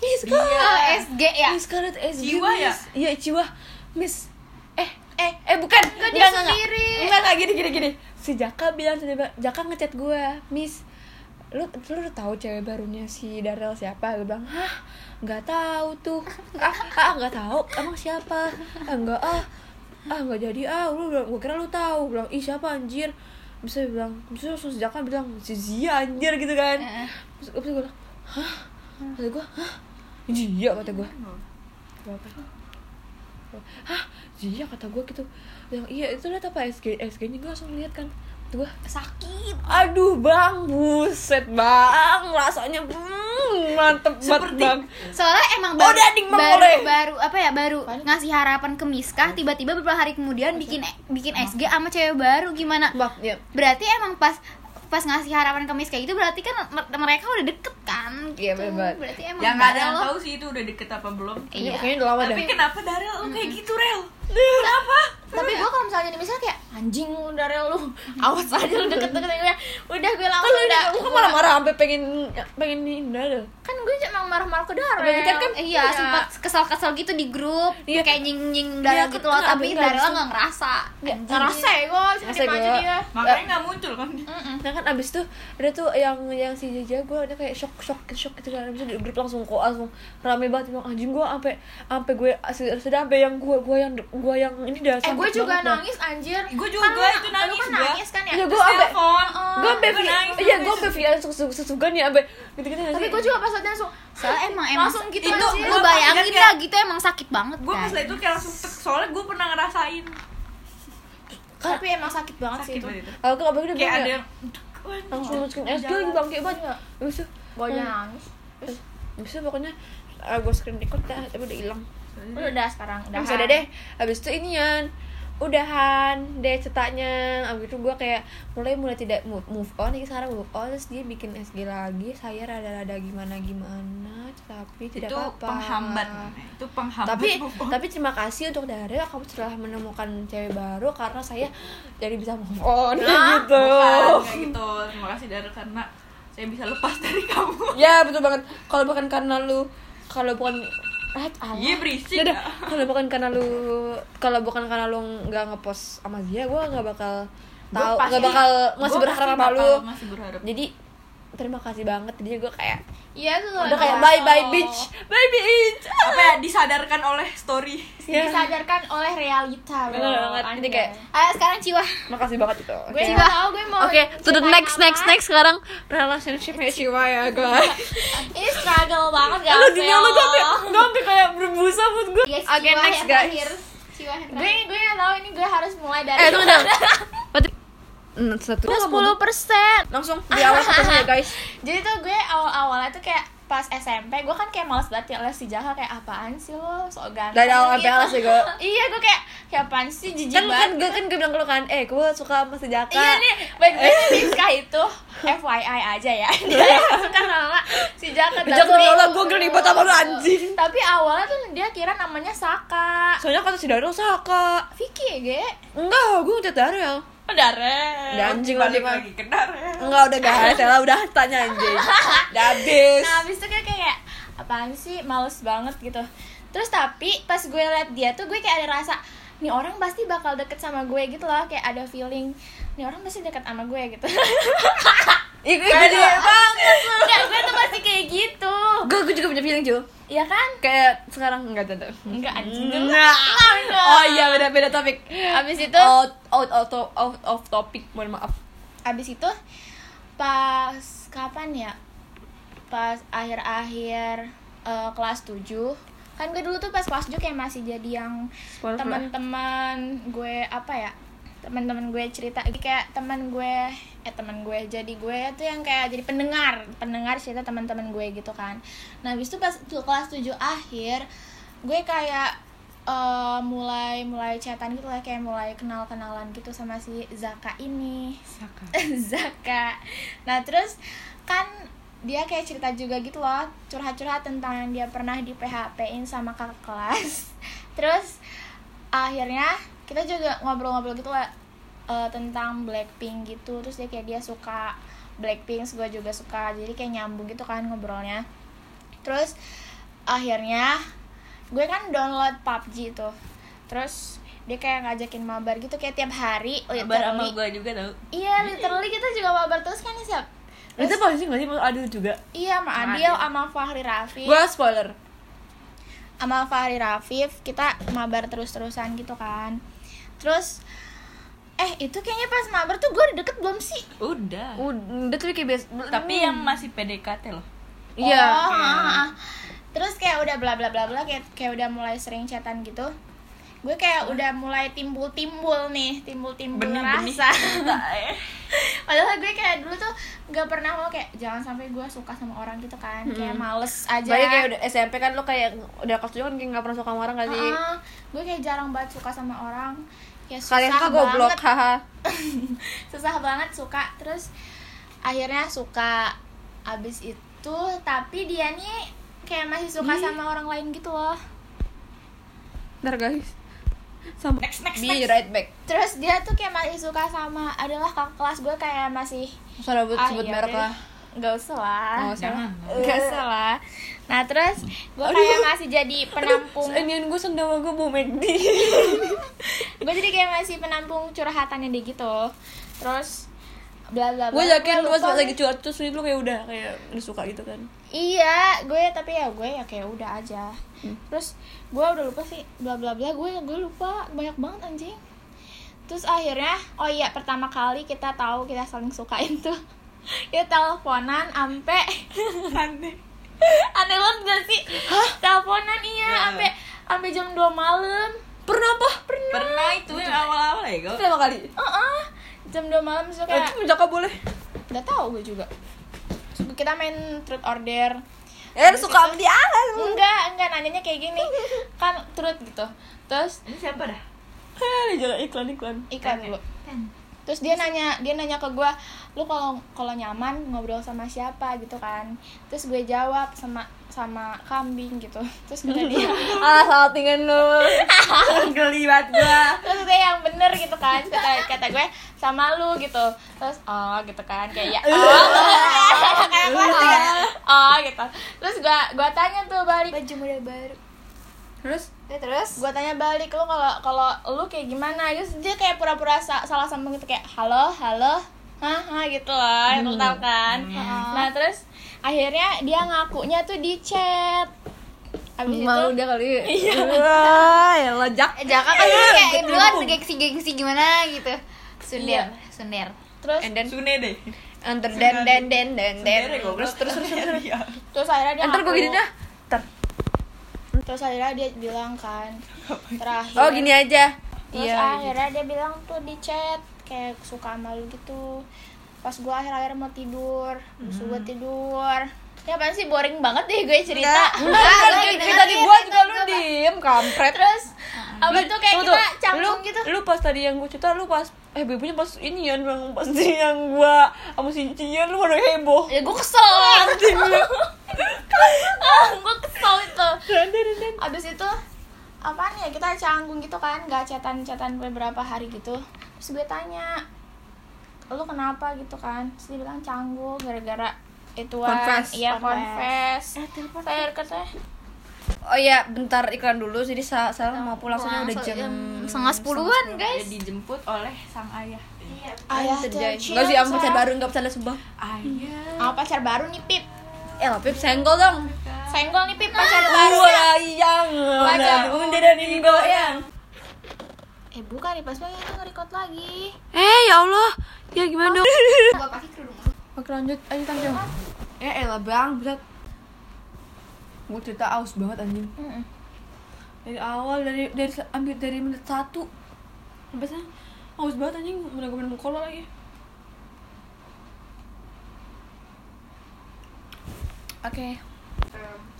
Miss Kak
oh, SG ya.
Miss Scarlett SG
Jiwa ya?
Miss. Iya Ciwa Miss Eh eh eh bukan Enggak
dia sendiri.
Enggak enggak gini gini gini Si Jaka bilang tiba Jaka ngechat gue Miss lu lu udah tahu cewek barunya si Darel siapa gue bilang hah nggak tahu tuh ah ah nggak tahu emang siapa ah, enggak ah ah nggak jadi ah lu bilang gue kira lu tahu bilang ih siapa anjir bisa bilang bisa langsung si Jaka bilang si Zia anjir gitu kan
Eh.
terus gue bilang hah kata gue hah Zia kata gue berapa hah Zia kata gue gitu yang iya itu lihat apa SG SG nya gue langsung lihat kan tuh gue
Sakit.
aduh bang buset bang rasanya hmm, mantep banget bang
Soalnya emang
Oh,
baru,
Dading Mang
baru,
Oleh.
baru apa ya baru ngasih harapan ke Miskah tiba-tiba beberapa hari kemudian bikin bikin SG sama cewek baru gimana?
bang ya
Berarti emang pas pas ngasih harapan ke Miskah itu berarti kan mer- mereka udah deket kan?
Iya,
gitu.
bener banget.
Berarti emang
yang Ya, nggak ada yang
Darel-
tahu sih itu udah deket apa belum
ini
Iya.
kayaknya udah lama dah
tapi kenapa Darel lu kayak gitu Rel kenapa
Tapi gua kalau misalnya jadi misalnya kayak anjing lu dari lu. Awas aja lu deket-deket gue. Udah gue
Kan
langsung
lu
udah.
lu kan malah marah sampai pengen pengen hindar dah.
Kan gue cuma marah-marah ke ya. Darel.
Tapi kan- kan
Iya, sempat kesel-kesel gitu di grup,
Iya.
kayak nying-nying
Iya,
Darel gitu loh,
kan abis-
tapi
abis
Darel
itu-
nggak ngerasa.
Nggak,
Anjing.
ngerasa ya gue cuma
Ngerasa
diem aja
gua.
dia. Eh,
makanya nggak muncul kan
Nah kan abis itu ada tuh yang yang si Jaja gue udah kayak shock shock shock gitu kan abis itu di grup langsung kok langsung rame banget bilang anjing gue sampai sampai gue sudah sampai yang gue gue yang gue yang ini dah
Eh gue
sakit
juga
banget dah.
nangis anjir.
Gue juga, itu nangis
Lu kan
gua.
nangis kan ya.
Iya, gua
Terus
sampai-
telepon Oh,
gue sampai
Gua nangis,
iya
nangis.
gue sampai via susugan ya sampai gitu gitu
Tapi gue juga pas latihan langsung.
Soalnya emang emang
Langsung gitu
itu
anjir.
kan-
lu
Gua
bayangin
kaget
dah gitu emang sakit banget.
gue pas
guys.
itu kayak langsung tek soalnya gue pernah ngerasain
Tapi emang sakit banget sih
sakit
itu.
banget itu
aku nggak begitu
kayak ada yang
langsung masukin es lagi bangke banget abis itu
Gue
Hmm.
nangis.
abis itu pokoknya gue screen record dah tapi udah hilang
Lu udah sekarang udah.
Abis udah deh, abis itu inian udahan deh cetaknya abis itu gue kayak mulai mulai tidak move, move on ini sekarang move on terus dia bikin SG lagi saya rada-rada gimana gimana tapi tidak
itu
apa-apa
penghambat itu penghambat
tapi
move on.
tapi terima kasih untuk Daryl kamu telah menemukan cewek baru karena saya jadi bisa move on gitu
bukan kayak gitu terima kasih Darel karena saya bisa lepas dari kamu
ya betul banget kalau bukan karena lu kalau bukan ah, alah.
iya berisik
Udah, udah. kalau bukan karena lu kalau bukan karena lu nggak ngepost sama dia gue nggak bakal tahu nggak bakal masih berharap sama lu
masih berharap
jadi terima kasih banget jadi gue kayak
Iya tuh.
udah kayak bye bye bitch bye bitch
apa ya disadarkan oleh story
ya
Disadarkan oleh realita loh.
Bener banget, ini
Anjay.
kayak,
Ayo sekarang Ciwa.
makasih banget gitu. itu
gue
Oke.
nggak tahu gue mau
Iya. Oke, to the
ceritain
next,
apa.
next, next sekarang relationship ya Ciwa ya guys.
Ini struggle banget gak
Lu
sih
gini lu gue gue sampai kayak berbusa mood gue. Oke,
Guys, Iya, Ciwa
next
yang
guys.
terakhir. Ciwa yang
Gue
terakhir.
gue gak tau ini gue harus mulai dari
Eh, tunggu dong. Berarti Hmm, satu.
sepuluh persen.
Langsung di awal ketemu ya guys.
Jadi tuh gue awal-awalnya tuh kayak pas SMP gue kan kayak males banget ya les si Jaha kayak apaan sih lo sok ganteng
Dari awal sampai
gitu.
alas ya gue.
iya gue kayak kayak apaan sih jijik
kan lu kan
banget
gue kan gue bilang ke lu kan eh gue suka sama sejaka
Iya nih, baik-baik si Rizka itu FYI aja ya
Iya.
Dia suka sama si Jaka
Jangan nolak gue gelibet sama lu anjing
Tapi awalnya tuh dia kira namanya Saka
Soalnya kata si Daryl Saka
Vicky ya, Ge?
Enggak, gue ngechat Daryl
Darel
Udah anjing Eh, lagi
balik lagi ke Darel
Enggak, udah gak ada lah, udah tanya anjing Udah habis
Nah abis itu kayak kayak apaan sih males banget gitu Terus tapi pas gue liat dia tuh gue kayak ada rasa Nih orang pasti bakal deket sama gue gitu loh Kayak ada feeling Nih orang pasti deket sama gue gitu
Ih, gue gede banget
Enggak gue tuh pasti kayak gitu
Gue gue juga punya feeling cuy
Iya kan?
Kayak sekarang enggak tentu
Enggak anjing dulu
Enggak Oh iya, beda beda topik
Abis itu
Out, out, out, of- out of topic, mohon maaf
abis itu pas kapan ya pas akhir-akhir eh, kelas 7 kan gue dulu tuh pas kelas 7 kayak masih jadi yang
Spoiler.
teman-teman gue apa ya teman-teman gue cerita kayak teman gue eh teman gue jadi gue tuh yang kayak jadi pendengar pendengar cerita teman-teman gue gitu kan nah habis itu pas tu- kelas 7 akhir gue kayak eh, mulai mulai chatan gitu lah kayak mulai kenal kenalan gitu sama si Zaka ini Zaka. Nah terus kan dia kayak cerita juga gitu loh curhat-curhat tentang yang dia pernah di PHP-in sama kakak kelas. Terus akhirnya kita juga ngobrol-ngobrol gitu lah eh, tentang Blackpink gitu. Terus dia kayak dia suka Blackpink, gue juga suka. Jadi kayak nyambung gitu kan ngobrolnya. Terus akhirnya gue kan download PUBG tuh. Terus dia kayak ngajakin mabar gitu kayak tiap hari.
Oh, iya,
literally.
gue juga tau
Iya, literally kita juga mabar terus kan nih, Sep?
Itu posisi gak sih, Mas Adil juga?
Iya, sama Adil, sama Fahri
Iya.
Rafif
Gue spoiler
Sama Fahri Rafif, kita mabar terus-terusan gitu kan Terus, eh itu kayaknya pas mabar tuh gue deket belum sih?
udah
Uh. Udah tuh kayak biasa Hmm.
tapi yang masih PDKT loh
Iya
Oh, ah, ah. Terus kayak udah bla bla bla bla kayak kayak udah mulai sering chatan gitu. Gue kayak udah mulai timbul-timbul nih, timbul-timbul
Benih-benih
rasa.
eh.
Padahal gue kayak dulu tuh gak pernah mau kayak jangan sampai gue suka sama orang gitu kan, kayak males aja.
Balik kayak udah SMP kan lo kayak udah kelas tujuh kan kayak gak pernah suka sama orang gak sih?
Ah, gue kayak jarang banget suka sama orang. Kayak susah
Kalian suka
banget.
goblok, haha
susah banget suka terus akhirnya suka abis itu tapi dia nih kayak masih suka sama orang lain gitu loh
Ntar guys Sama
Next, next,
Be
next.
right back
terus dia tuh kayak masih suka sama adalah kakak kelas gue kayak masih
Usah sebut,
ah,
sebut
iya
merek
deh.
lah
nggak usah lah
Oh,
jangan
nggak usah lah nah terus gue kayak masih jadi penampung
Ini gue sendawa gue mau McD
gue jadi kayak masih penampung curhatannya dia gitu terus bla bla bla
Gue yakin
Gua
pas
lupa
lagi curhat terus lo kayak udah kayak udah suka gitu kan
Iya, gue tapi ya gue ya kayak udah aja. Terus gue udah lupa sih bla bla bla gue gue lupa banyak banget anjing. Terus akhirnya oh iya pertama kali kita tahu kita saling sukain tuh. Kita teleponan ampe aneh. Aneh banget gak sih? Teleponan iya ampe ampe jam 2 malam.
Pernah apa?
pernah itu yang awal-awal ya gue
Berapa kali?
Heeh. Jam 2 malam suka
Eh,
kayak
Jaka boleh
udah tahu gue juga. Terus kita main truth order.
Eh, lu suka sama dia lah
Enggak, enggak nanyanya kayak gini. Kan truth gitu. Terus
ini siapa dah
Eh, jangan iklan-iklan
iklan dulu terus dia nanya dia nanya ke gue lu kalau kalau nyaman ngobrol sama siapa gitu kan terus gue jawab sama sama kambing gitu terus kata dia
Ah, salah tinggal lu
geli banget gue
terus dia yang bener gitu kan kata kata gue sama lu gitu terus oh gitu kan kayak ya oh kayak pasti kan oh gitu terus gue gue tanya tuh balik baju udah baru
Ya, Terus?
terus gue tanya balik lu kalau kalau lu kayak gimana terus dia kayak pura-pura sa- salah sambung gitu kayak halo halo hah hah gitu loh lu tau kan
Hmm.
nah terus akhirnya dia ngakunya tuh di chat abis
Mau dia
itu
kali Wah, ya lejak
Jaka kan
Iya,
kayak
betul.
dulu kan gengsi-gengsi gimana gitu Sunder, sunder
terus
And then
sune deh
Antar den den den den den
Sune deh Iya, gue terus terus terus
terus akhirnya dia
Antar gue
ngaku.
gini dah Ntar.
terus akhirnya dia bilang kan terakhir
Oh gini aja
terus
Iya
akhirnya dia bilang tuh di chat kayak suka sama lu gitu pas gue akhir-akhir mau tidur terus gue
Hmm.
tidur ya apaan sih
Ah,
boring banget deh gue cerita
Enggak, enggak, tadi gua juga lu diem, kampret
terus Apa
Lu-
tuh kayak
tunggu,
kita
tunggu.
canggung
Lu-
gitu?
Lu pas tadi yang gue cerita lu pas eh bebunya pas ini ya yang pas di yang gua sama si Cian lu udah heboh.
Ya gue kesel.
Anjing lu.
gue Ah, kesel itu. Abis itu apaan ya kita canggung gitu kan gak cetan-cetan beberapa hari gitu terus gue tanya lu kenapa gitu kan terus dia bilang canggung gara-gara ituan
Confess.
iya
Confess.
confess Saya katanya
Oh iya, bentar iklan dulu jadi sa Sarah mau pulang soalnya udah jam
setengah sepuluhan
Dia
guys
dijemput oleh sang ayah.
ayah
Terjadi.
tercium,
Enggak sih, am pacar
sayang.
baru enggak bercanda sumpah.
Ayah.
Ah, pacar baru nih pip
Eh, lah, Pip senggol dong.
senggol nih pip pacar baru
Gua yang
Pacar.
bunda dan goyang.
eh bukan nih pas banget itu nge-record lagi
Eh, ya Allah. Ya gimana dong?
gua pakai kerudung lu
Oke, lanjut. Ayo tanjung. Ya elah, Bang. Berat. Gue cerita aus banget anjing.
Mm-mm.
dari awal dari dari ambil dari menit satu sampai sana haus banget anjing udah gue minum cola lagi oke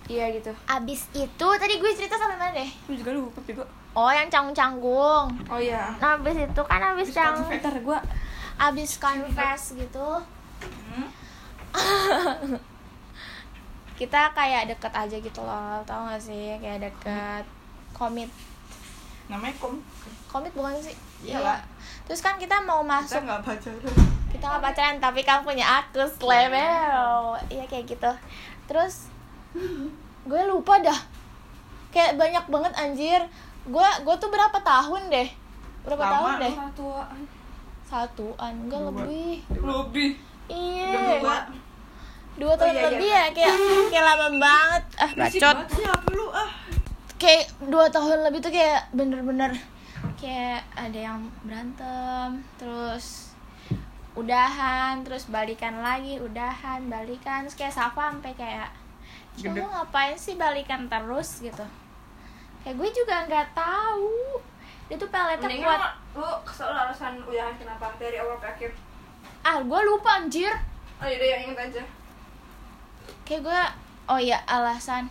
iya gitu
abis itu tadi gue cerita sampai mana deh
lu juga lupa juga
oh yang canggung-canggung
oh iya
nah abis itu kan abis yang
ntar gue
abis confess gitu
Hmm?
kita kayak deket aja gitu loh tau gak sih kayak deket komit
Namanya kom.
komit bukan sih
Iya lah.
terus kan kita mau
Kita
masuk
nggak pacaran.
kita nggak pacaran tapi kamu punya aku slemel iya kayak gitu terus gue lupa dah kayak banyak banget anjir gue gue tuh berapa tahun deh berapa
Lama
tahun deh
satu
satuan enggak
Dua.
lebih
Lebih.
iya
Udah berdua.
dua tahun
iya, iya.
lebih ya kayak kayak lama banget ah
Berisik
bacot
banget sih apa lu ah.
kayak dua tahun lebih tuh kayak bener-bener kayak ada yang berantem terus udahan terus balikan lagi udahan balikan terus kayak Safa sampai kayak
Gede.
kamu ngapain sih balikan terus gitu kayak gue juga nggak tahu dia tuh peletnya kuat
lu kesel alasan udahan kenapa dari awal ke akhir
ah gue lupa anjir
oh iya yang inget aja
kayak gue oh ya alasan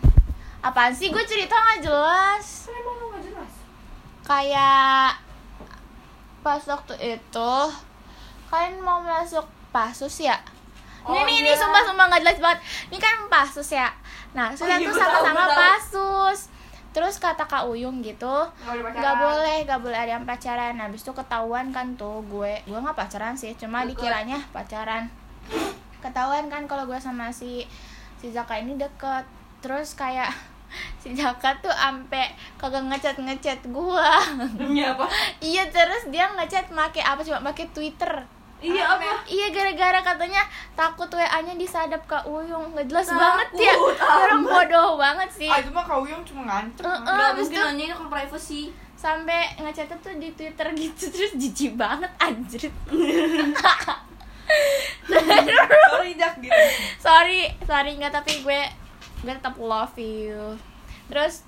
apaan sih gue cerita nggak jelas
emang lu gak jelas
kayak pas waktu itu kalian mau masuk pasus ya
Oh,
ini nih
iya. Oh,
ini sumpah sumpah nggak jelas banget ini kan pasus ya nah sudah
iya,
tuh
gua tahu,
sama-sama
gua tahu.
pasus terus kata kak Uyung gitu
boleh pacaran.
nggak boleh nggak boleh ada yang pacaran nah, habis itu ketahuan kan tuh gue gue nggak pacaran sih cuma dikiranya pacaran ketahuan kan kalau gue sama si si Zaka ini deket terus kayak si Zaka tuh ampe kagak ngechat ngechat gue
Demi apa?
iya terus dia ngechat make apa cuma make Twitter
Iya apa?
Iya gara-gara katanya takut WA-nya disadap ke Uyung Nggak jelas banget ya Orang bodoh banget sih
Ah itu mah kau yang cuma ngancem.
Iya. Heeh, habis itu
ini kan privacy
sampai ngechatnya tuh di Twitter gitu terus jijik banget anjir
Sorry Jak gitu.
sorry sorry nggak tapi gue gue tetap love you terus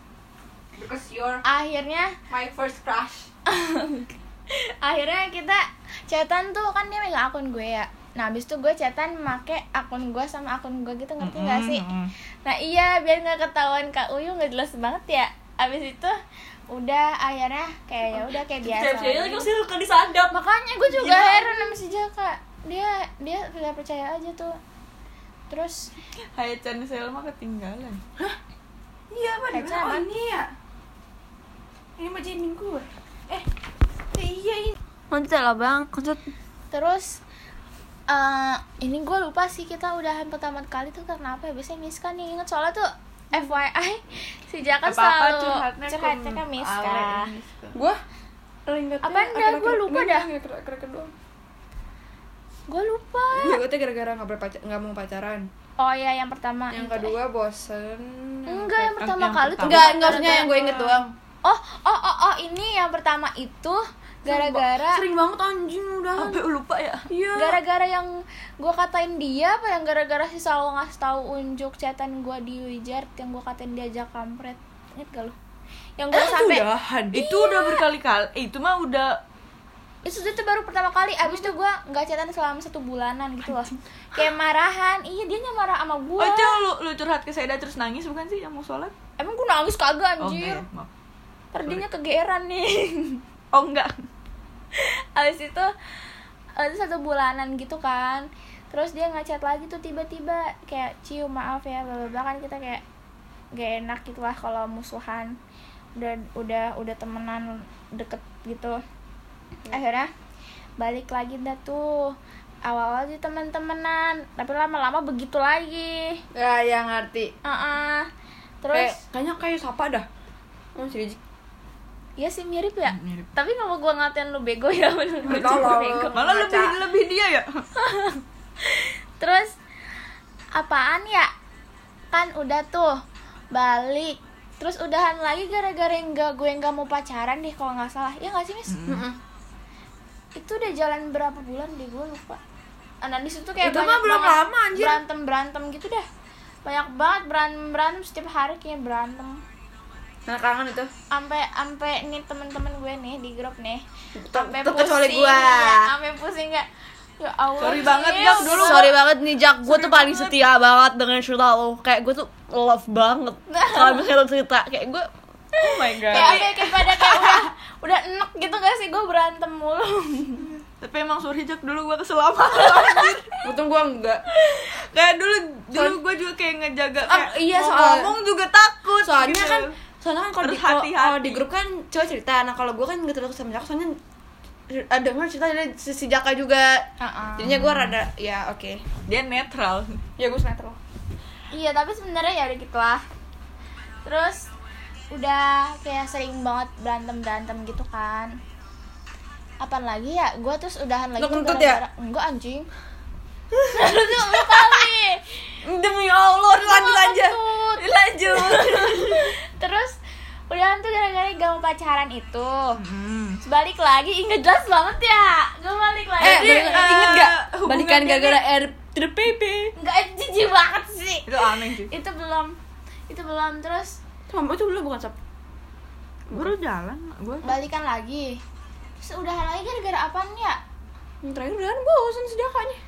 because you're
akhirnya
my first crush
akhirnya kita chatan tuh kan dia megang akun gue ya nah habis itu gue chatan make akun gue sama akun gue gitu ngerti nggak sih
Mm-mm.
nah iya biar nggak ketahuan kak Uyu nggak jelas banget ya habis itu udah akhirnya kayak ya udah kayak biasa
Cewek-ceweknya lagi masih suka disadap
makanya gue juga heran sama si Jaka dia dia tidak percaya aja tuh terus
Hayat Chan Selma ketinggalan.
Iya, apa
Kayak
dimana?
cara.
Oh, ini ya. Ini mah jamin gue. Eh, eh, iya ini. Lanjut lah bang, lanjut.
terus eh ini gue lupa sih kita udahan pertama kali tuh karena apa ya biasanya Miska nih inget soalnya tuh
Hmm.
FYI si Jaka
Apa-apa
Kan selalu
curhatnya ke
curhatnya kan ke Miska
Ale, Miska.
Gue? Ingat
Apaan dah? Gua lupa dah.
Kira-kira doang.
gue lupa
Gue tuh gara-gara nggak berpacar, nggak mau pacaran.
oh iya yang pertama
Yang
itu. Eh,
kedua bosen.
enggak yang
Yang-
pertama
yang
kali tuh
pertama.
Enggak,
bukan
enggak maksudnya yang
gara-gara-
gue inget doang.
oh oh oh oh ini yang pertama itu gara-gara
Kan Sering banget anjing udah. Sampai lupa ya? Iya.
gara-gara yang gue katain dia apa yang gara-gara si Sawo ngasih tahu unjuk chatan gue di Wijard yang gue katain diajak kampret inget gak lo yang gue
Eh, itu
sampai
udahan. Itu
Iya.
udah berkali-kali. Eh, itu mah udah
itu itu baru pertama kali abis itu gue nggak chatan selama satu bulanan gitu loh kayak marahan iya dia nya marah sama
Oh,
gue
itu lu, lu curhat ke Saida terus nangis bukan sih yang mau sholat?
emang gue nangis kagak
Oh,
anjir
enggak ya, maaf.
perdinya kegeeran nih oh enggak abis itu eh, itu satu bulanan gitu kan terus dia ngechat lagi tuh tiba-tiba kayak cium maaf ya bla bla bla." kan kita kayak gak enak gitu lah kalau musuhan udah udah udah temenan deket gitu akhirnya balik lagi dah tuh awal-awal sih teman-temenan tapi lama-lama begitu lagi
ya yang ngerti
Heeh.
kayak
terus
kayaknya kayak siapa dah Hmm, si Rizky.
ya sih mirip ya
Ah,
Mirip.
tapi nggak mau gue ngatain lu bego ya bener gue
Tolong.
bego
malah
Ngaca.
lebih lebih dia ya
terus apaan ya kan udah tuh balik terus udahan lagi gara-gara yang gak gue nggak mau pacaran deh kalau nggak salah ya nggak sih mis
Mm-mm.
itu udah jalan berapa bulan deh gue lupa nah di situ kayak
Itu mah
banyak
belum
banget
lama, anjir.
berantem berantem gitu dah banyak banget berantem berantem setiap hari kayak berantem
Nah, kangen itu.
sampai sampai nih temen-temen gue nih di grup nih sampai
Tetep kecuali gua.
ya, sampai pusing kayak ya Allah
Sorry banget,
Cil,
Jak, dulu.
gua-
Sorry banget nih Jak, gue tuh paling setia banget dengan cerita lo Kayak gue tuh love banget Kalau misalnya lo cerita, kayak gue
oh my god
kayak ada kayak pada kayak udah udah enek gitu gak sih gue berantem mulu
tapi emang sorry Jack dulu gue kesel sama lo.
Untung gue enggak
kayak dulu dulu gue juga kayak ngejaga
Ah,
kayak
iya,
mau
soal-
ngomong juga takut
Soalnya
gitu.
kan Soalnya kan kalau di,
Harus
kalau-
hati-hati.
kalau di grup kan cowok cerita Nah kalau gue kan gak terlalu sama Jak Soalnya ada denger cerita dari sisi Jaka juga Jadinya gue rada, ya oke
dia netral
Ya gue senetral
iya tapi sebenarnya ya udah gitu lah terus udah kayak sering banget berantem berantem gitu kan apaan lagi ya gue terus udahan lagi
Lo
tuh
kentut ya?
gara-gara- enggak anjing harusnya lu kali
Demi Allah, lanjut aja
Kentut.
Lanjut
terus udahan tuh gara-gara gak mau pacaran itu
Hmm.
Terus balik lagi ih, nggak jelas banget ya gue balik lagi
Eh,
Jadi,
bener- inget gak?
eh, hubungan
Balikan
ini-
gara-gara air to the baby
nggak jijik banget sih
itu aneh sih
itu belum itu belum terus
Sama itu belum bukan sop
baru jalan gue
balikan lagi terus udah lagi gara-gara apaan ya
Yang terakhir udahan bosan si Jakanya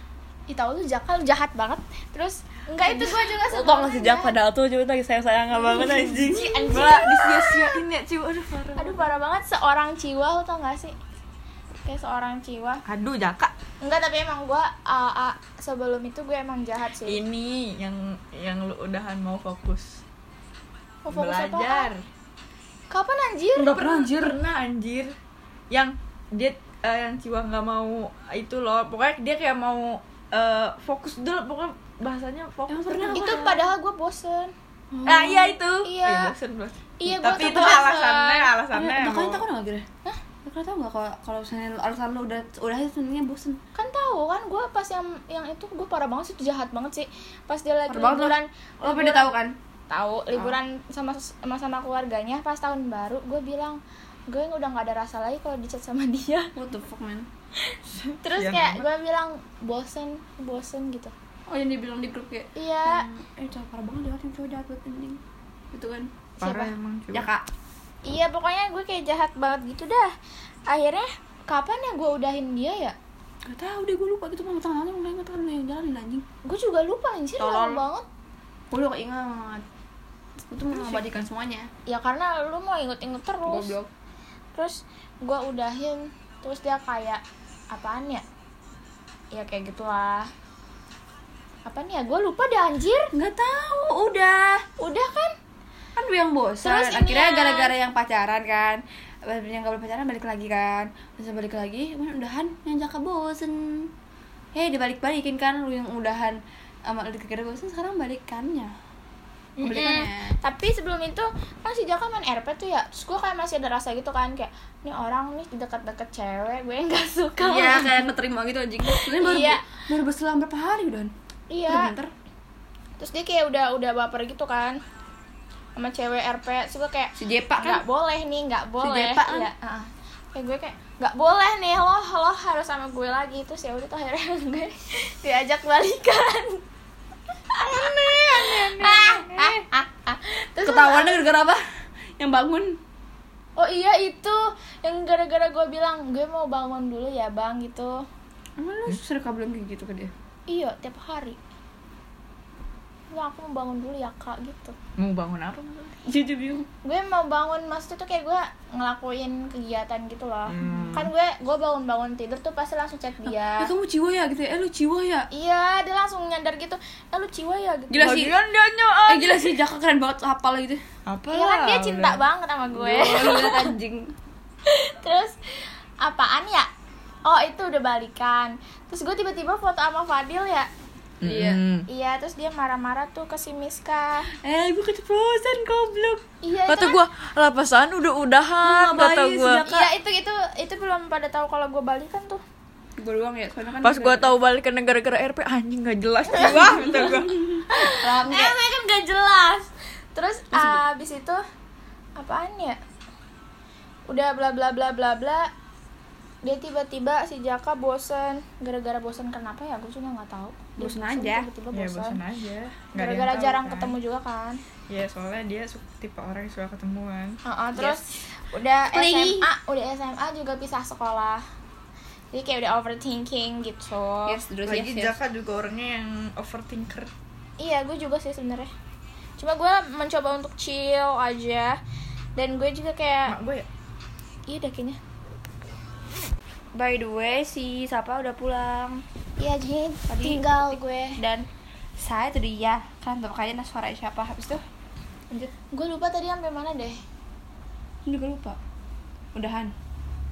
Ih tau lu Jaka lu jahat banget Terus enggak itu gua juga
Lo tau
Oh,
sebelumnya.
gak sih Jak padahal tuh cuma lagi sayang-sayang banget anjing
Iya. Ih, anjing.
malah disia-siain ya cium aduh parah
Aduh parah banget seorang jiwa lu tau gak sih Kayak seorang jiwa
aduh jaka
Enggak tapi emang gua AA, sebelum itu gue emang jahat sih
ini yang yang lu udahan mau fokus
Mau fokus
belajar
apaan? Kapan anjir?
Nggak pernah, anjir.
pernah anjir yang dia eh, yang Ciwa nggak mau itu loh pokoknya dia kayak mau eh, fokus dulu pokoknya bahasanya fokus
Itu padahal gue bosen
ah iya itu Oh,
Iya.
bosen, bosen.
Iya, gua Iya,
tapi itu
kebelet.
alasannya alasannya
Makanya
mau-
takut gak kira? Hah? Kalian tau gak kalau kalau misalnya alasan lo udah udah itu sebenarnya bosen
kan tahu kan gue pas yang yang itu gue parah banget sih itu jahat banget sih pas dia lagi
Parah banget
liburan
Lo pada tau kan?
tahu liburan sama sama sama keluarganya pas tahun baru gue bilang gue udah nggak ada rasa lagi kalau dicat sama dia
What the fuck man?
terus
Iya,
Kasihan
kayak gue bilang bosen bosen gitu
Oh yang dibilang di grup kayak
iya
Eh cowok parah banget jahat yang cowok jahat banget anjing Gitu kan
parah
Siapa?
emang Ciwa.
Jaka
iya pokoknya gue kayak jahat banget gitu dah akhirnya kapan ya gue udahin dia ya
Gak tau deh gue lupa gitu mau tengah aja mulai ngetekan yang jalanin anjing
gue juga lupa anjir
Tolol.
lama banget
Gue udah keinget Gue tuh mau mengabadikan semuanya
ya karena lu mau inget-inget terus terus gue udahin terus dia kayak apaan ya ya kayak gitulah apaan ya gue lupa dah anjir
Gak tahu, udah
udah kan
kan gue yang bosan
Terus ini ya?
akhirnya
yang-
gara-gara yang pacaran kan yang gak boleh pacaran balik lagi kan terus balik lagi kan udahan yang jaka bosen hei dibalik-balikin kan lu yang udahan sama lu gara-gara bosen sekarang balikannya kebalikannya
Mm-mm. tapi sebelum itu kan si Jaka main RP tuh ya terus gue kayak masih ada rasa gitu kan kayak nih orang nih deket-deket cewek gue nggak suka
Iya, kayak keterima gitu anjing. Sebenarnya baru
Iya.
baru berselang berapa hari udahan.
Iya.
Udah bentar.
terus dia kayak udah udah baper gitu kan sama cewek RP terus gue kayak
Si Jepa kan.
nggak boleh nih nggak boleh
Jepa kan?
Iya, ah. kayak gue kayak nggak boleh nih lo lo harus sama gue lagi terus ya udah tuh akhirnya gue diajak balikan Ah, aneh aneh aneh ah. terus
Ketahuannya gara-gara apa? Yang bangun.
oh iya itu yang gara-gara gue bilang gue mau bangun dulu ya bang gitu
Emang lu sering kayak gitu ke dia?
iya tiap hari ya aku mau bangun dulu ya kak gitu
mau bangun apa maksudnya?
jadi bingung
gue mau bangun maksudnya tuh kayak gue ngelakuin kegiatan gitu loh
Hmm.
kan gue gue bangun-bangun tidur tuh pasti langsung chat dia
eh kamu jiwa ya gitu ya eh lu jiwa ya
iya dia langsung nyadar gitu eh lu jiwa ya gitu
gila sih
Lagian dia nyoan.
eh gila sih Jaka keren banget hafal gitu
Apa
iya kan dia cinta banget sama gue
lu lihat ya? Iya, anjing
terus apaan ya oh itu udah balikan terus gue tiba-tiba foto sama Fadil ya
Hmm.
Iya.
iya terus dia marah-marah tuh ke si Miska
eh gue keceplosan goblok
iya itu
Kata
kan-
gue, lapasan anu udah
Lu
udahan
ngapain
kata
sih, ya kan?
gue.
Jack?
iya itu itu itu belum pada tahu kalau gue balikan tuh
gue doang ya soalnya kan
Pas
udah-
gue tahu balik ke negara-negara RP anjing gak jelas jiwa kata gue.
eh mereka kan gak jelas terus abis itu apaan ya udah bla bla bla bla bla dia tiba-tiba si Jaka bosen gara-gara bosen kenapa ya gue juga nggak tahu Dia
Bosen aja.
tiba-tiba
Ya
bosen
bosan aja. Nggak ada yang
gara-gara
tahu,
jarang
kan.
ketemu juga kan
Ya soalnya dia suka- tipe orang yang suka ketemuan.
Heeh, terus udah
Lagi.
SMA udah SMA juga pisah sekolah jadi kayak udah overthinking gitu
yes terus yes,
Lagi
yes.
Jaka juga orangnya yang overthinker.
Iya, gue juga sih sebenarnya. Cuma gue mencoba untuk chill aja. Dan gue juga kayak,
Mak gue ya.
iya dah kayaknya.
by the way si siapa udah pulang
Iya, Jin.
Tadi-
Tinggal gue.
dan saya itu dia kan tuh kayaknya suara siapa habis itu lanjut
Gue lupa tadi sampai mana deh.
Ini juga lupa udahan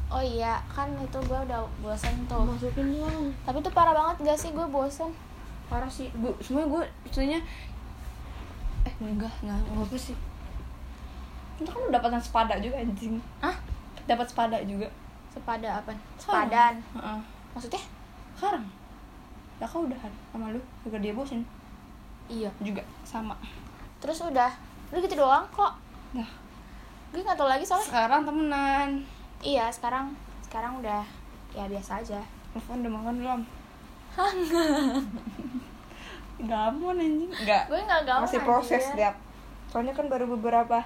Oh iya, kan itu gue udah bosen tuh. Masukin dong. Tapi itu parah banget gak sih gue bosen?
parah sih gue semua gue sebenarnya eh enggak enggak enggak apa sih itu kan dapat yang sepada juga anjing
Hah?
dapat sepada juga
Sepada apa? Sepadan.
Heeh.
Maksudnya?
sekarang ya kau udahan sama lu agar dia bosen
Iya.
juga sama
Terus udah. Udah gitu doang kok.
nah
Gue gak tau lagi soalnya.
sekarang temenan
Iya, sekarang sekarang udah ya biasa aja.
telepon udah makan belum enggak gamon anjing enggak
Gue gak gaul
masih
anjir.
proses dap soalnya kan baru beberapa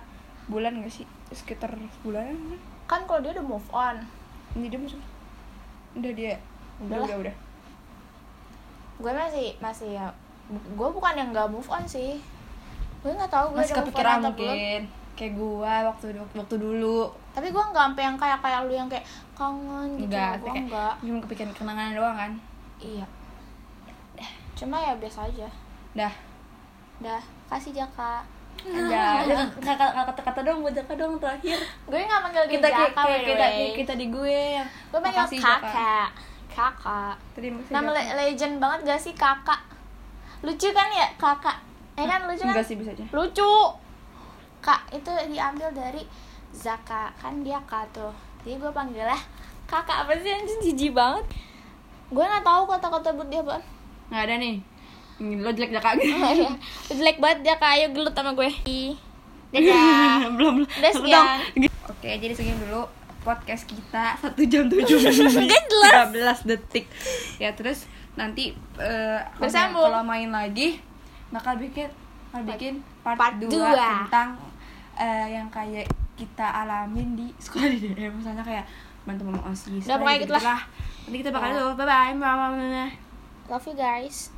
bulan gak sih sekitar bulanan kan
Kan kalau dia udah move on.
ini dia masuk udah dia udah
Udah.
udah udah
gue masih masih ya bu- gue bukan yang gak move on sih gue nggak tahu gue
masih
udah move on
kepikiran
atau belum
mungkin kayak gua waktu waktu dulu
tapi gue nggak sampai yang kayak kayak lu yang kayak kangen gitu
enggak
gue
kayak
nggak
cuma kepikiran kenangan doang kan
iya cuma ya biasa aja
dah
dah kasih jaka
aja Udah, kata- kata- kata-kata dong buat Jaka dong terakhir
gue nggak manggil dia
kita kayak
jaka by
kayak
the
kita
way.
kayak kita di gue ya. yang
gue manggil
makasih, Jaka.
kakak kakak
terima kasih
nama
Jaka.
le- legend banget gak sih kakak lucu kan ya kakak eh kan lucu kan
enggak sih bisa aja
lucu kak itu diambil dari Zaka kan dia kak tuh jadi gue panggil lah kakak apa sih anjing jijik banget gue nggak tahu kata-kata buat dia apaan
nggak ada nih lo jelek Jaka gitu
jelek banget dia kayak ayo gelut sama gue Ih. dadah
belum
udah sekian
Hmm. ya. Oke, jadi segini dulu podcast kita satu jam tujuh menit tiga belas detik. Ya terus nanti eh, kalau-
Bersambung.
kalau main lagi bakal bikin bakal bikin
Part
part, dua
dua.
tentang eh, yang kayak kita alamin di sekolah di DM misalnya kayak bantu mama osis.
Udah, pokoknya gitu lah.
Nanti kita bakal dulu. Bye bye. Mama.
love you guys